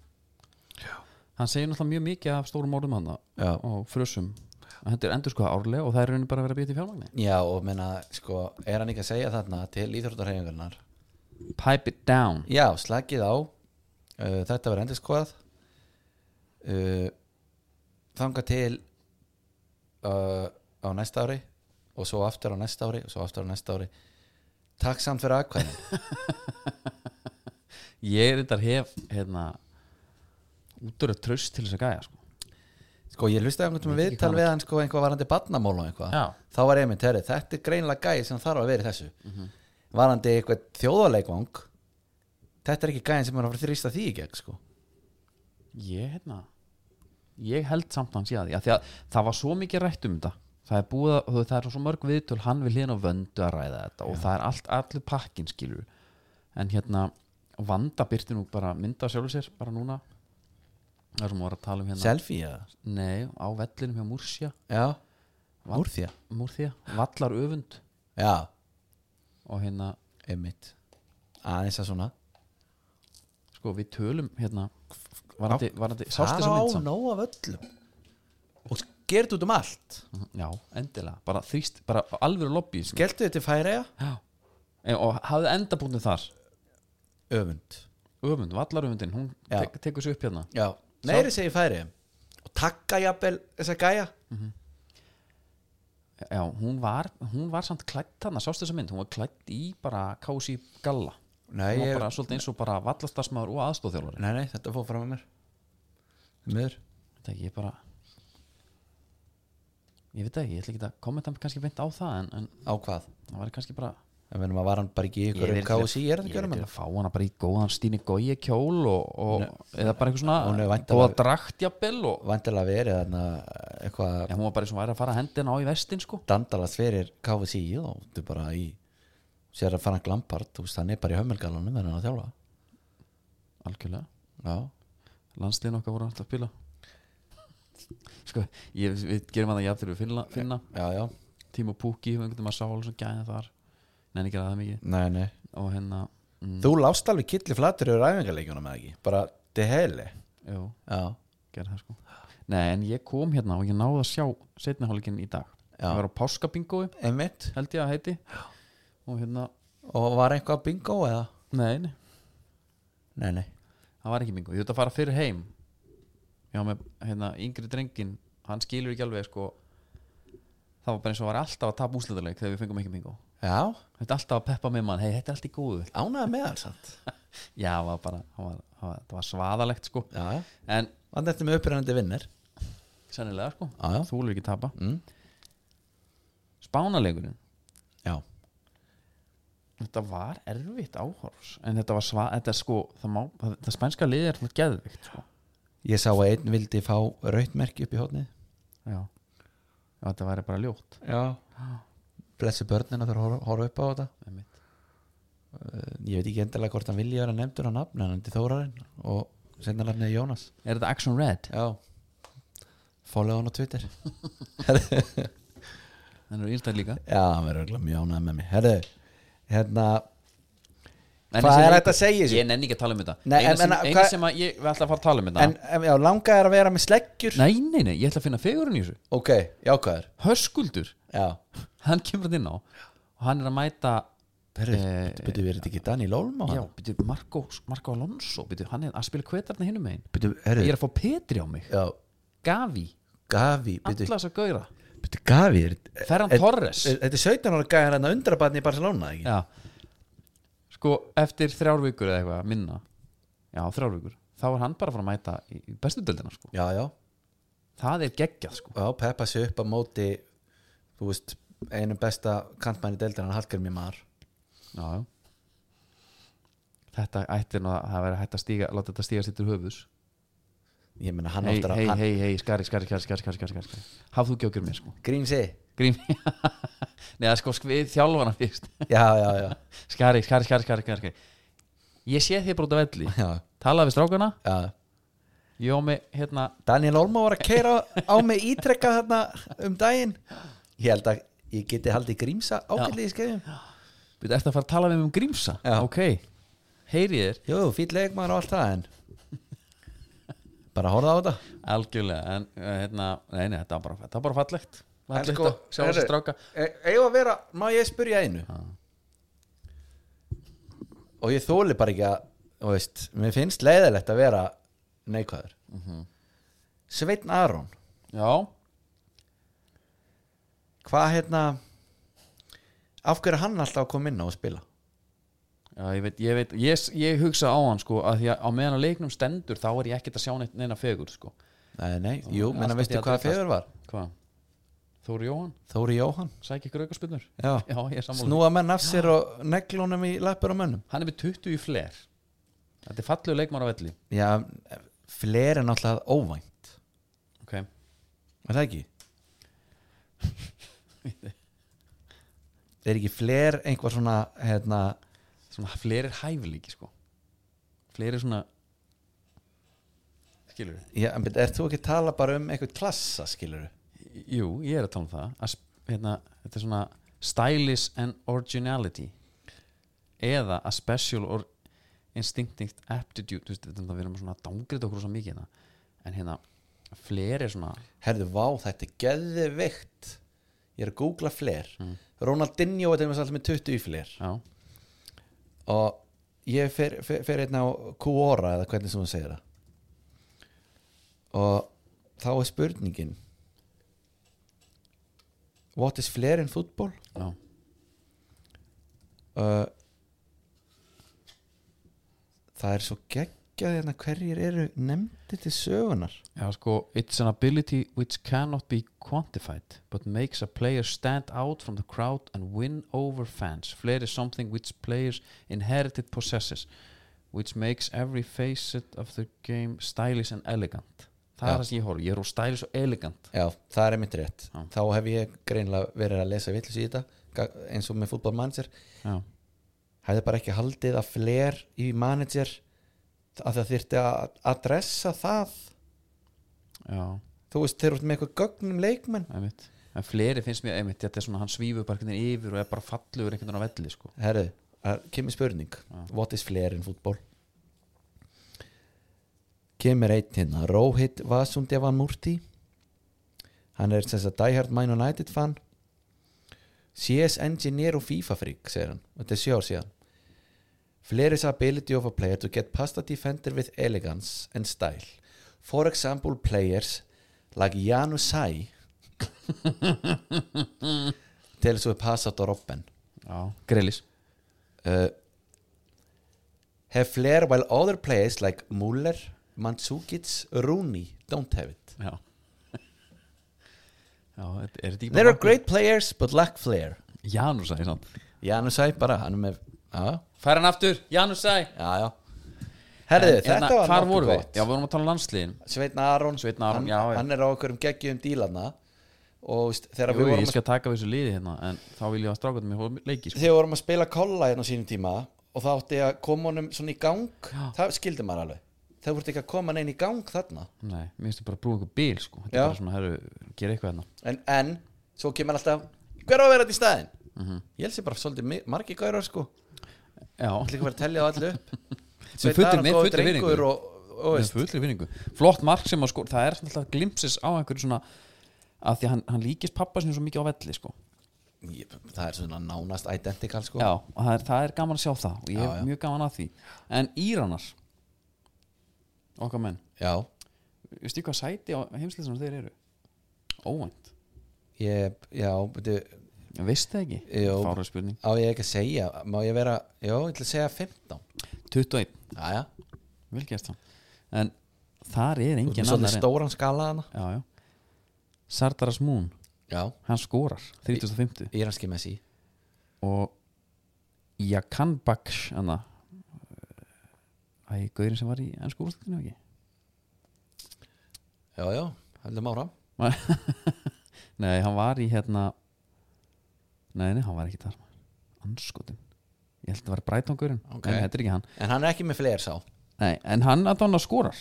[SPEAKER 2] Já. Hann segir náttúrulega mjög mikið af stórum orðum hann
[SPEAKER 3] Já.
[SPEAKER 2] og frösum. að Þetta er endur sko árlega og það er raunin bara að vera að býta í fjármagni.
[SPEAKER 3] Já, og menna, sko, er hann ekki að segja þarna til íþróttarhefingarnar
[SPEAKER 2] Pipe it down.
[SPEAKER 3] Já, slakið á uh, Þetta var endurskoðað uh, Þanga til uh, á næsta ári og svo aftur á næsta ári og svo aftur á næsta ári Takk samt fyrir aðkvæðin
[SPEAKER 2] Ég er þetta hef, hérna, útur að traust til þess að gæja, sko.
[SPEAKER 3] Sko ég hlustaði einhvern tímann
[SPEAKER 2] Ég veit ekki
[SPEAKER 3] viðtal
[SPEAKER 2] hvað
[SPEAKER 3] við hann sko einhvað varandi badnamól og eitthvað
[SPEAKER 2] Já.
[SPEAKER 3] þá var ég mynd, herri, þetta er greinilega gæði sem þarf að vera í þessu
[SPEAKER 2] Mhm.
[SPEAKER 3] varandi eitthvað þjóðarleikvang þetta er ekki gæðin sem er að fara að þrýsta því í gegn sko
[SPEAKER 2] Ég, hérna Ég held samt hans í að því að því að það var svo mikið rætt um þetta Það er búið að, þú- það er svo mörg viðtöl hann vil hérna vöndu að ræða þetta og það er allt, allir pakkin skilur en hérna, vanda byrti nú bara mynda sjálfur sér, bara núna það sem hún var að tala um hérna
[SPEAKER 3] Selfie eða?
[SPEAKER 2] Nei, á vellinum hjá Múrsja
[SPEAKER 3] Já, Múrþía
[SPEAKER 2] Múrþía, vallar öfund
[SPEAKER 3] Já,
[SPEAKER 2] og hérna,
[SPEAKER 3] einmitt aðeins að svona
[SPEAKER 2] sko við tölum hérna, varandi, varandi sástu
[SPEAKER 3] Það
[SPEAKER 2] þessa
[SPEAKER 3] á
[SPEAKER 2] mynd samt?
[SPEAKER 3] nóg af öllum og gerðu út um allt
[SPEAKER 2] Já, endilega, bara þrýst, bara alvöru lobby sko.
[SPEAKER 3] Geltu þetta færiða?
[SPEAKER 2] Já. En- og hafði endabúndið þar
[SPEAKER 3] Öfund
[SPEAKER 2] öfund, vallaröfundin, hún
[SPEAKER 3] Já.
[SPEAKER 2] tek, tekur sér upp hérna
[SPEAKER 3] Já, neðri segi færiða og takka jafnvel þessa gæja
[SPEAKER 2] já, hún var, hún var samt klætt hana, sástu þessa mynd, hún var klætt í bara kási galla
[SPEAKER 3] Nei,
[SPEAKER 2] hún var
[SPEAKER 3] ég-
[SPEAKER 2] bara svolítið eins og bara vallastasmaður og aðstóðþjólari
[SPEAKER 3] Nei, nei, þetta fór fram að mér Mör
[SPEAKER 2] þetta ekki, ég bara ég veit það ekki, ég ætla ekki að kommenta kannski beint á það en, en
[SPEAKER 3] Á hvað?
[SPEAKER 2] það væri kannski bara
[SPEAKER 3] Ég meina maður var hann bara ekki í
[SPEAKER 2] ég
[SPEAKER 3] ykkur um
[SPEAKER 2] til að-
[SPEAKER 3] KSI er það
[SPEAKER 2] ég
[SPEAKER 3] ekki verið
[SPEAKER 2] til
[SPEAKER 3] með
[SPEAKER 2] að fá hana bara í góðan Stíni Gói kjól og, og eða bara einhver
[SPEAKER 3] Hún er
[SPEAKER 2] svona
[SPEAKER 3] væntanlega-
[SPEAKER 2] góða draktjabil og
[SPEAKER 3] Vandilega verið þarna
[SPEAKER 2] Já,
[SPEAKER 3] eitthvað
[SPEAKER 2] hún var bara eins og væri að fara hendina á í vestin sko
[SPEAKER 3] dandalast fyrir KSI og þú bara í sér að fara glampart, þú veist hann er bara í hömmelgalanum en hann að þjálfa
[SPEAKER 2] algjörlega
[SPEAKER 3] Já,
[SPEAKER 2] landsliðin okkar voru alltaf að pila sko, ég, við gerum að það jafn til við finna, finna
[SPEAKER 3] já, já,
[SPEAKER 2] Tímo Pukki, einhvern veginn maður sá alveg svo gæða þar neina ekki að það mikið
[SPEAKER 3] nei, nei
[SPEAKER 2] og hérna, mm,
[SPEAKER 3] Þú lást alveg killi flatur yfir æfingarleikjunum eða ekki bara til heli
[SPEAKER 2] jú,
[SPEAKER 3] Já,
[SPEAKER 2] gerði það sko nei, en ég kom hérna og ég náði að sjá setniháleikin í dag,
[SPEAKER 3] Já.
[SPEAKER 2] ég var á páskabingói
[SPEAKER 3] einmitt
[SPEAKER 2] held ég að heiti og hérna,
[SPEAKER 3] Og var eitthvað bingo eða?
[SPEAKER 2] nei, nei,
[SPEAKER 3] Nei, nei
[SPEAKER 2] það var ekki bingo ég þurfti að fara fyrir heim já, með hérna, yngri drengin hann skilur ekki alveg sko það var bara eins og var alltaf að tapa úslitaðleik þegar við fengum ekki bingo
[SPEAKER 3] Já,
[SPEAKER 2] Þetta er alltaf að peppa með mann, hei, þetta er allt í góðu
[SPEAKER 3] ánægða með hann samt
[SPEAKER 2] Já, það var bara, það var, það var, það var svaðalegt sko
[SPEAKER 3] Já, já
[SPEAKER 2] En,
[SPEAKER 3] Vann þetta með upprennandi vinnir
[SPEAKER 2] sennilega sko,
[SPEAKER 3] Já, já.
[SPEAKER 2] þú vil ekki tapa
[SPEAKER 3] mm.
[SPEAKER 2] Spánalegurinn,
[SPEAKER 3] Já,
[SPEAKER 2] þetta var erfitt áhors En þetta var svað, þetta er sko, það, má, það, það spænska liðið er alltaf geðvikt sko
[SPEAKER 3] ég sá að einn vildi fá rautmerki upp í hótnið
[SPEAKER 2] Já, Já þetta væri bara ljótt
[SPEAKER 3] Já Blessu börnina þurfa að horfa- horfa upp á þetta
[SPEAKER 2] einmitt.
[SPEAKER 3] Eh, Ég veit ekki endalega hvort hann vilja vera nefndur á nafn en hann er Þórarinn og senna nafnið Jónas
[SPEAKER 2] Er þetta Action Red?
[SPEAKER 3] Já Follow hann á Twitter
[SPEAKER 2] Þannig er ínstæð líka
[SPEAKER 3] Já, hann verður örugglega mjög ánægð með mig Herðu, hérna
[SPEAKER 2] En
[SPEAKER 3] Hvað
[SPEAKER 2] þessi
[SPEAKER 3] er
[SPEAKER 2] leikur-
[SPEAKER 3] þetta að segja í þessu?
[SPEAKER 2] Ég nenni ekki að tala um þetta
[SPEAKER 3] Nei,
[SPEAKER 2] Eina
[SPEAKER 3] en-
[SPEAKER 2] sem,
[SPEAKER 3] en-
[SPEAKER 2] eina
[SPEAKER 3] hvað-
[SPEAKER 2] sem að ég, við ætla að fara að tala um þetta
[SPEAKER 3] En em, já, langaði að vera með sleggjur
[SPEAKER 2] Nei, nei, nei, ég ætla að finna fegurinn í þessu
[SPEAKER 3] Ok, jákvæður
[SPEAKER 2] Höskuldur,
[SPEAKER 3] Já
[SPEAKER 2] hann kemur inn á og hann er að mæta
[SPEAKER 3] Herðu,
[SPEAKER 2] Eh,
[SPEAKER 3] byrju verið þetta ekki Dani Lólma
[SPEAKER 2] Já, byrju, Marco, Marco Alonso byrju, hann er að spila kvetarni hinum megin
[SPEAKER 3] byrju,
[SPEAKER 2] Ég er að
[SPEAKER 3] herðu
[SPEAKER 2] fá Petri á mig
[SPEAKER 3] Já,
[SPEAKER 2] Gavi,
[SPEAKER 3] Gavi,
[SPEAKER 2] alla
[SPEAKER 3] byrju,
[SPEAKER 2] þess að gauðra
[SPEAKER 3] byrju Gavi er-
[SPEAKER 2] Ferran
[SPEAKER 3] er-
[SPEAKER 2] Torres
[SPEAKER 3] er- Þetta er 17 ára gæðan að undrabarni í Barcelona, ekki?
[SPEAKER 2] Já sko eftir þrjár vikur eða eitthvað minna já þrjár vikur þá er hann bara að fara að mæta í í bestu döldina sko
[SPEAKER 3] já, já,
[SPEAKER 2] það er geggjað sko
[SPEAKER 3] já, peppa sér upp á móti þú veist, einum besta kantmæni deildar hann Hallgrimmi Mar
[SPEAKER 2] já, já. þetta ætti nú að það verið hægt að stíga láta þetta stíga sittur höfus
[SPEAKER 3] ég meina hann
[SPEAKER 2] hei
[SPEAKER 3] áttur að
[SPEAKER 2] hei
[SPEAKER 3] hann,
[SPEAKER 2] hei hei skari skari skari skari skari skari skari hafðu ekki okkur mér sko
[SPEAKER 3] grínsi,
[SPEAKER 2] grím neða sko sk- við þjálfana fyrst
[SPEAKER 3] já, já, já
[SPEAKER 2] skari skari skari skari skari skari. ég sé þið bara út af velli
[SPEAKER 3] já,
[SPEAKER 2] tala við strákana
[SPEAKER 3] já
[SPEAKER 2] ég á mig hérna
[SPEAKER 3] Daniel Olmo var að keira á mig ítrekka þarna um daginn ég held að ég geti haldið grímsa ágætlega í skefjum
[SPEAKER 2] Við ert að fara að tala við mig um grímsa
[SPEAKER 3] Já.
[SPEAKER 2] Ok, heyri ég þér
[SPEAKER 3] jú, fýll leikmaður og allt það en bara horfa á þetta
[SPEAKER 2] Algjörlega, en eh, hérna Nei, nei, þetta var bara, þetta var bara fallegt
[SPEAKER 3] En
[SPEAKER 2] Fallegt
[SPEAKER 3] sko,
[SPEAKER 2] að sjá þessi
[SPEAKER 3] heyrðu,
[SPEAKER 2] stráka
[SPEAKER 3] e- eigum að vera, má ég spyrja einu og ég þóli bara ekki að þú veist, mér finnst leiðilegt að vera neikvæður Sveinn Aron
[SPEAKER 2] Já,
[SPEAKER 3] hvað hérna af hverju er hann alltaf að koma inn á að spila
[SPEAKER 2] já ég veit, ég veit ég, ég hugsa á hann sko að því að á meðan að leiknum stendur þá er ég ekkert að sjá neitt neina fegur sko
[SPEAKER 3] nei, nei, jú, menna
[SPEAKER 2] Alltaf
[SPEAKER 3] veistu
[SPEAKER 2] því að
[SPEAKER 3] hvað
[SPEAKER 2] tryllast.
[SPEAKER 3] fegur var
[SPEAKER 2] Hvað? Þóri Jóhann,
[SPEAKER 3] Þóri Jóhann
[SPEAKER 2] sæk ykkur aukaspinnur
[SPEAKER 3] já.
[SPEAKER 2] Já, ég er sammála
[SPEAKER 3] snúa menn af sér og neglunum í lappur á mönnum
[SPEAKER 2] Hann er með 20 í fler Þetta er fallegu leikmar á velli
[SPEAKER 3] já, fleiri náttúrulega óvænt
[SPEAKER 2] Ok,
[SPEAKER 3] er það ekki? er ekki fler einhvað svona hérna,
[SPEAKER 2] svona flerir hæflíki sko Flerir svona Skilur við
[SPEAKER 3] já, en byrju, er þú ekki að tala bara um einhvern klassa skilur
[SPEAKER 2] Jú, ég er að tala um það að, sp- hérna, Þetta er svona stylish and originality eða a special or instinctive aptitude þú veist, þetta er það við erum svona að dangrið okkur svo mikið hérna. en hérna, fler er svona
[SPEAKER 3] herðu, vá, þetta er geðveikt ég er að googla fler
[SPEAKER 2] Mm.
[SPEAKER 3] Ronaldinho er þeim alltaf með 20 í fler
[SPEAKER 2] já,
[SPEAKER 3] og ég fer, fer, fer einn á Quora eða hvernig sem hún segir það og þá er spurningin what is flair in football?
[SPEAKER 2] já,
[SPEAKER 3] uh, það er svo geggjað hérna hverjir eru nefndir til sögunar
[SPEAKER 2] já, sko it's an ability which cannot be quantified but makes a player stand out from the crowd and win over fans flair is something which players inherited possesses which makes every facet of the game stylish and elegant það
[SPEAKER 3] Já.
[SPEAKER 2] er það sem ég horf, ég er úr stylish og elegant
[SPEAKER 3] já, það er einmitt rétt
[SPEAKER 2] Já.
[SPEAKER 3] þá hef ég greinlega verið að lesa vitlis í þetta ga- eins og með fútbolmanager
[SPEAKER 2] já,
[SPEAKER 3] hefði bara ekki haldið að flair í manager að það þyrfti að adressa það
[SPEAKER 2] já,
[SPEAKER 3] þú veist, þeir eru með eitthvað gögnum leikmenn
[SPEAKER 2] einmitt en fleiri finnst mér einmitt, þetta er svona hann svífur bara einhvern veginn yfir og er bara fallegur einhvern veginn á velli sko.
[SPEAKER 3] herru, það kemur spurning what is flair in fútból kemur einn hérna Rohit Vasundevan Murti hann er sem sagt diehard Man United fan CS engineer og FIFA freak segir hann, þetta er sjö ár síðan Flair is ability of a player to get past a defender with elegance and style for example players like Janusai til þess að passa á Robben
[SPEAKER 2] já, greilis
[SPEAKER 3] Uh, have flair while other players like Muller, Mandzukic, Rooney don't have it.
[SPEAKER 2] já, já er, er þetta ekki
[SPEAKER 3] There are
[SPEAKER 2] bara
[SPEAKER 3] great players but lack flair.
[SPEAKER 2] Janus aðeins hann
[SPEAKER 3] Janus Æ bara, hann er með, já,
[SPEAKER 2] fær hann aftur, Janus aðeins
[SPEAKER 3] já, já. Herðu, þetta var
[SPEAKER 2] hérna, hvar
[SPEAKER 3] nokkuð
[SPEAKER 2] vorum við?
[SPEAKER 3] gott.
[SPEAKER 2] já, við vorum að tala um landsliðin
[SPEAKER 3] Sveitna Aron,
[SPEAKER 2] Sveinn Aron,
[SPEAKER 3] hann,
[SPEAKER 2] já, já.
[SPEAKER 3] hann er á okkurum geggjum dílana og veist, þegar
[SPEAKER 2] Jú,
[SPEAKER 3] við vorum
[SPEAKER 2] ég skal taka við þessu liði hérna en þá vil ég að stráka þetta mér leiki sko.
[SPEAKER 3] þegar við vorum að spila kolla hérna á sínum tíma og þá átti ég að koma honum svona í gang það skildi maður alveg það voru ekki að koma hann einn í gang þarna
[SPEAKER 2] Nei, mér finnst það bara að brúa einhver bíl sko. Þetta
[SPEAKER 3] Já.
[SPEAKER 2] er bara svona, herru, gera eitthvað hérna
[SPEAKER 3] en, en svo kemur hann alltaf hver á að vera þetta í staðin
[SPEAKER 2] Mhm.
[SPEAKER 3] ég held sér bara svolítið mi- margir gaurar sko
[SPEAKER 2] Já,
[SPEAKER 3] líka verið að tellja á allu upp
[SPEAKER 2] Með
[SPEAKER 3] Sveinn
[SPEAKER 2] fullri-
[SPEAKER 3] Aron
[SPEAKER 2] með
[SPEAKER 3] góður
[SPEAKER 2] fullri virðingu.
[SPEAKER 3] drengur og, og
[SPEAKER 2] með
[SPEAKER 3] veist,
[SPEAKER 2] fullri vinningu Flott mark sem að sko, það er alltaf glimpsis á einhverju svona að því að hann, hann líkist pappa sinni svo mikið á velli sko.
[SPEAKER 3] ég, það er svona nánast identical sko
[SPEAKER 2] Já, og það er, það er gaman að sjá það og ég
[SPEAKER 3] Já,
[SPEAKER 2] hef
[SPEAKER 3] já.
[SPEAKER 2] mjög gaman að því En Íranar okkar menn,
[SPEAKER 3] Já.
[SPEAKER 2] veistu hvað sæti á heimsliðsum þeir eru? Óvænt
[SPEAKER 3] ég, já, beti,
[SPEAKER 2] veist það ekki?
[SPEAKER 3] Jó.
[SPEAKER 2] Fára spurning
[SPEAKER 3] Á ég ekki að segja, má ég vera Jó, ég ætla að segja 15
[SPEAKER 2] 21,
[SPEAKER 3] Jæja,
[SPEAKER 2] vel gæst það en þar er
[SPEAKER 3] þú ert með
[SPEAKER 2] engin
[SPEAKER 3] svolítið
[SPEAKER 2] annar en
[SPEAKER 3] stóran skala hana
[SPEAKER 2] já, já. Sardaras Moon,
[SPEAKER 3] Já,
[SPEAKER 2] hann skorar 35.
[SPEAKER 3] íranski Messi
[SPEAKER 2] og Jakan Baksh hana æ, gaurin sem var í ennsku úrstættinu ekki
[SPEAKER 3] Já, já, heldum áram
[SPEAKER 2] nei, hann var í hérna nei, nei, hann var ekki þar anskotin, ég held að það var Breitongurinn
[SPEAKER 3] Ok.
[SPEAKER 2] en þetta er ekki hann
[SPEAKER 3] En hann er ekki með fleir sá
[SPEAKER 2] nei, en hann að donna skorar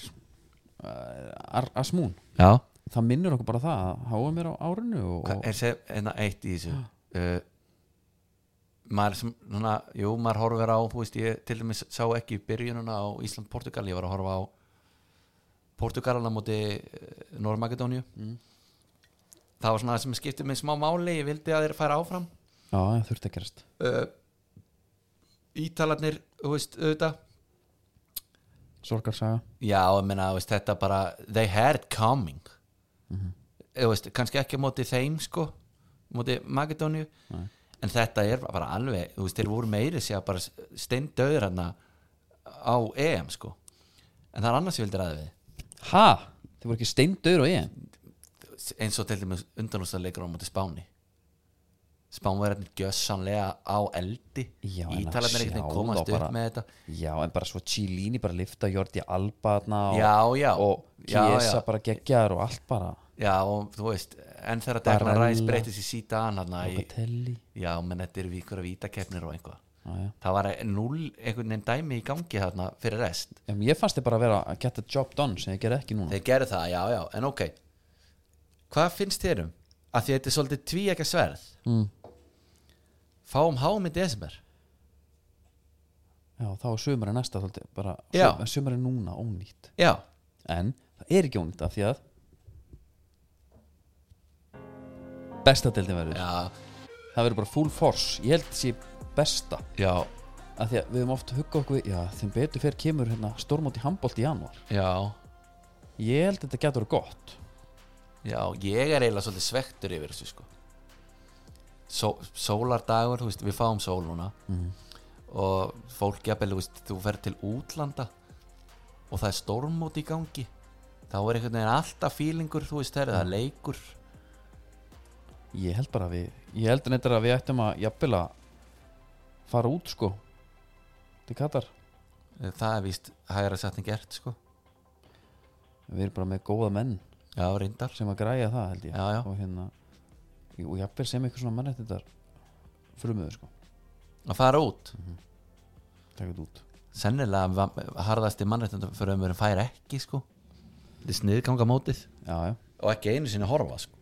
[SPEAKER 2] Ar Asmún,
[SPEAKER 3] Já
[SPEAKER 2] það minnur okkur bara á það að háa mér á árinu og,
[SPEAKER 3] Hvað er sem, enna eitt í þessu uh, maður sem, núna, jú, maður horfir á þú veist, ég til dæmis sá ekki byrjununa á Ísland-Portugal, ég var að horfa á Portugalana móti Norr-Makedóníu það var svona það sem skipti mig smá máli ég vildi að þeir færa áfram
[SPEAKER 2] já, það þurfti að gerast
[SPEAKER 3] uh, Ítalarnir, þú veist, auðvitað
[SPEAKER 2] sorgarsaga,
[SPEAKER 3] Já, ég meina, þú veist, þetta bara they had it coming
[SPEAKER 2] Mhm.
[SPEAKER 3] þú veist, kannski ekki á móti þeim sko, á móti Makedóníu en þetta er bara alveg þú veist, þeir voru meiri sér bara steindauður hann á EM sko, en það er annars ég vildi ræða við
[SPEAKER 2] ha þið voru ekki steindauður og ég
[SPEAKER 3] eins og til dæmis undanústa leikur á móti Spáni Spán var hérna gjössanlega á eldi
[SPEAKER 2] Já, en að
[SPEAKER 3] Ítalarnir
[SPEAKER 2] sjá
[SPEAKER 3] eitthvað
[SPEAKER 2] þá
[SPEAKER 3] komast upp
[SPEAKER 2] bara-
[SPEAKER 3] með þetta
[SPEAKER 2] já, en bara svo Chilini bara lifta Jordi Alba þarna og,
[SPEAKER 3] Já, já.
[SPEAKER 2] og
[SPEAKER 3] Já, já.
[SPEAKER 2] Kiesa bara geggjaður og allt bara
[SPEAKER 3] Já, og þú veist, en þegar Dagnar
[SPEAKER 2] Barella.
[SPEAKER 3] Ræs breytist í sítan hann í
[SPEAKER 2] Locatelli
[SPEAKER 3] Já, menn þetta eru ykkur að víta keppnir og einhvað
[SPEAKER 2] Já, já.
[SPEAKER 3] Það var null einhvern veginn dæmi í gangi þarna fyrir rest
[SPEAKER 2] Em, ég fannst þið bara að vera að get the job done sem ég ger ekki núna
[SPEAKER 3] Þeir gerðu það, já, já, en ok Hvað finnst þér um? Að því að þetta er svolítið tví ekki sverð
[SPEAKER 2] mm.
[SPEAKER 3] Fáum háum í desember
[SPEAKER 2] já, þá er sömurinn næsta svolítið, bara,
[SPEAKER 3] Já.
[SPEAKER 2] sömurinn núna ónýtt
[SPEAKER 3] Já,
[SPEAKER 2] en það er ekki ónýtt af því að besta deildin verður
[SPEAKER 3] já,
[SPEAKER 2] það verður bara full force ég held sé besta
[SPEAKER 3] já,
[SPEAKER 2] af því að við höfum oft huggað okkur við, já, þeim betur fyrir kemur hérna stórmóti handbólt í januar
[SPEAKER 3] já
[SPEAKER 2] ég held að þetta getur verið gott
[SPEAKER 3] Já, ég er eiginlega svolítið svektur yfir þessu sko Só, Sólardagur, þú veist, við fáum sól núna Og fólk jafnvel, þú veist, þú ferð til útlanda Og það er stormót í gangi Þá er einhvern veginn alltaf fílingur, þú veist, þegar það er leikur
[SPEAKER 2] ég held bara að við ég held neitt að við ættum að jafnvel að fara út sko til Katar
[SPEAKER 3] Það er víst hægra sættin gert, sko
[SPEAKER 2] við erum bara með góða menn
[SPEAKER 3] Já, reyndar
[SPEAKER 2] sem að græja það held ég
[SPEAKER 3] Já, já.
[SPEAKER 2] og hérna og jafnvel sem eitthvað svona mannættitar frumöðu sko,
[SPEAKER 3] Að fara út
[SPEAKER 2] taka þetta út
[SPEAKER 3] Sennilega va- harðasti mannréttundum fyrir að verið færa ekki, sko Þetta er sniðganga mótið
[SPEAKER 2] já, já,
[SPEAKER 3] Og ekki einu sinni horfa, sko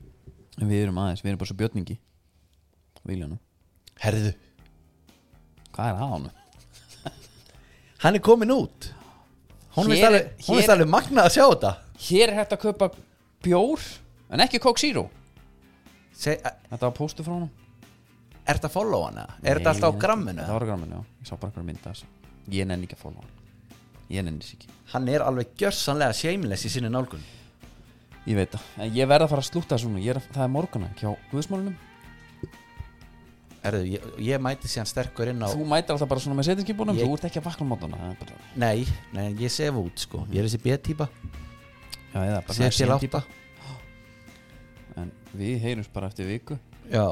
[SPEAKER 2] en við erum aðeins, við erum bara svo björningi Viljanum,
[SPEAKER 3] Herðu,
[SPEAKER 2] hvað er að honum?
[SPEAKER 3] hann er komin út hún
[SPEAKER 2] Hér
[SPEAKER 3] finnst alveg,
[SPEAKER 2] er-
[SPEAKER 3] hún
[SPEAKER 2] hér-
[SPEAKER 3] finnst alveg magnað að sjá þetta
[SPEAKER 2] hér er hægt að kaupa bjór en ekki Coke Zero
[SPEAKER 3] Se,
[SPEAKER 2] þetta var póstur frá honum
[SPEAKER 3] er þetta að followa hana? er
[SPEAKER 2] Nei,
[SPEAKER 3] þetta alltaf á
[SPEAKER 2] nei,
[SPEAKER 3] gramminu?
[SPEAKER 2] þetta var á gramminu, já, ég sá bara einhverja mynda þessu ég nenni ekki að followa hann ég nenni þessu ekki
[SPEAKER 3] hann er alveg gjörsanlega shameless í sinni nálgun
[SPEAKER 2] Ég veit það, en ég verð að fara að slúta þessu núna Ég er, Það er morgana hjá Guðsmálunum
[SPEAKER 3] Herðu, ég, ég mæti síðan sterkur inn á
[SPEAKER 2] Þú mætir alltaf bara svona með setinskipunum
[SPEAKER 3] Ég-
[SPEAKER 2] Þú ert ekki að vakna á mótana það er bara,
[SPEAKER 3] nei, nei, ég sef út sko ég er þessi B-típa,
[SPEAKER 2] Já, eða bara
[SPEAKER 3] sef til
[SPEAKER 2] sen
[SPEAKER 3] átta
[SPEAKER 2] típa. En við heyrums bara eftir viku
[SPEAKER 3] já,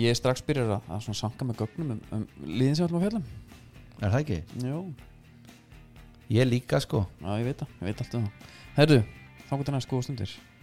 [SPEAKER 2] Ég er strax byrjar að, að svona sanka með gögnum um, um liðin sem við ætlum að fjallum
[SPEAKER 3] er það ekki?
[SPEAKER 2] Jó,
[SPEAKER 3] ég sko. líka sko
[SPEAKER 2] já, ég veit það, ég veit allt um það Herru, þá getur næst góða stundir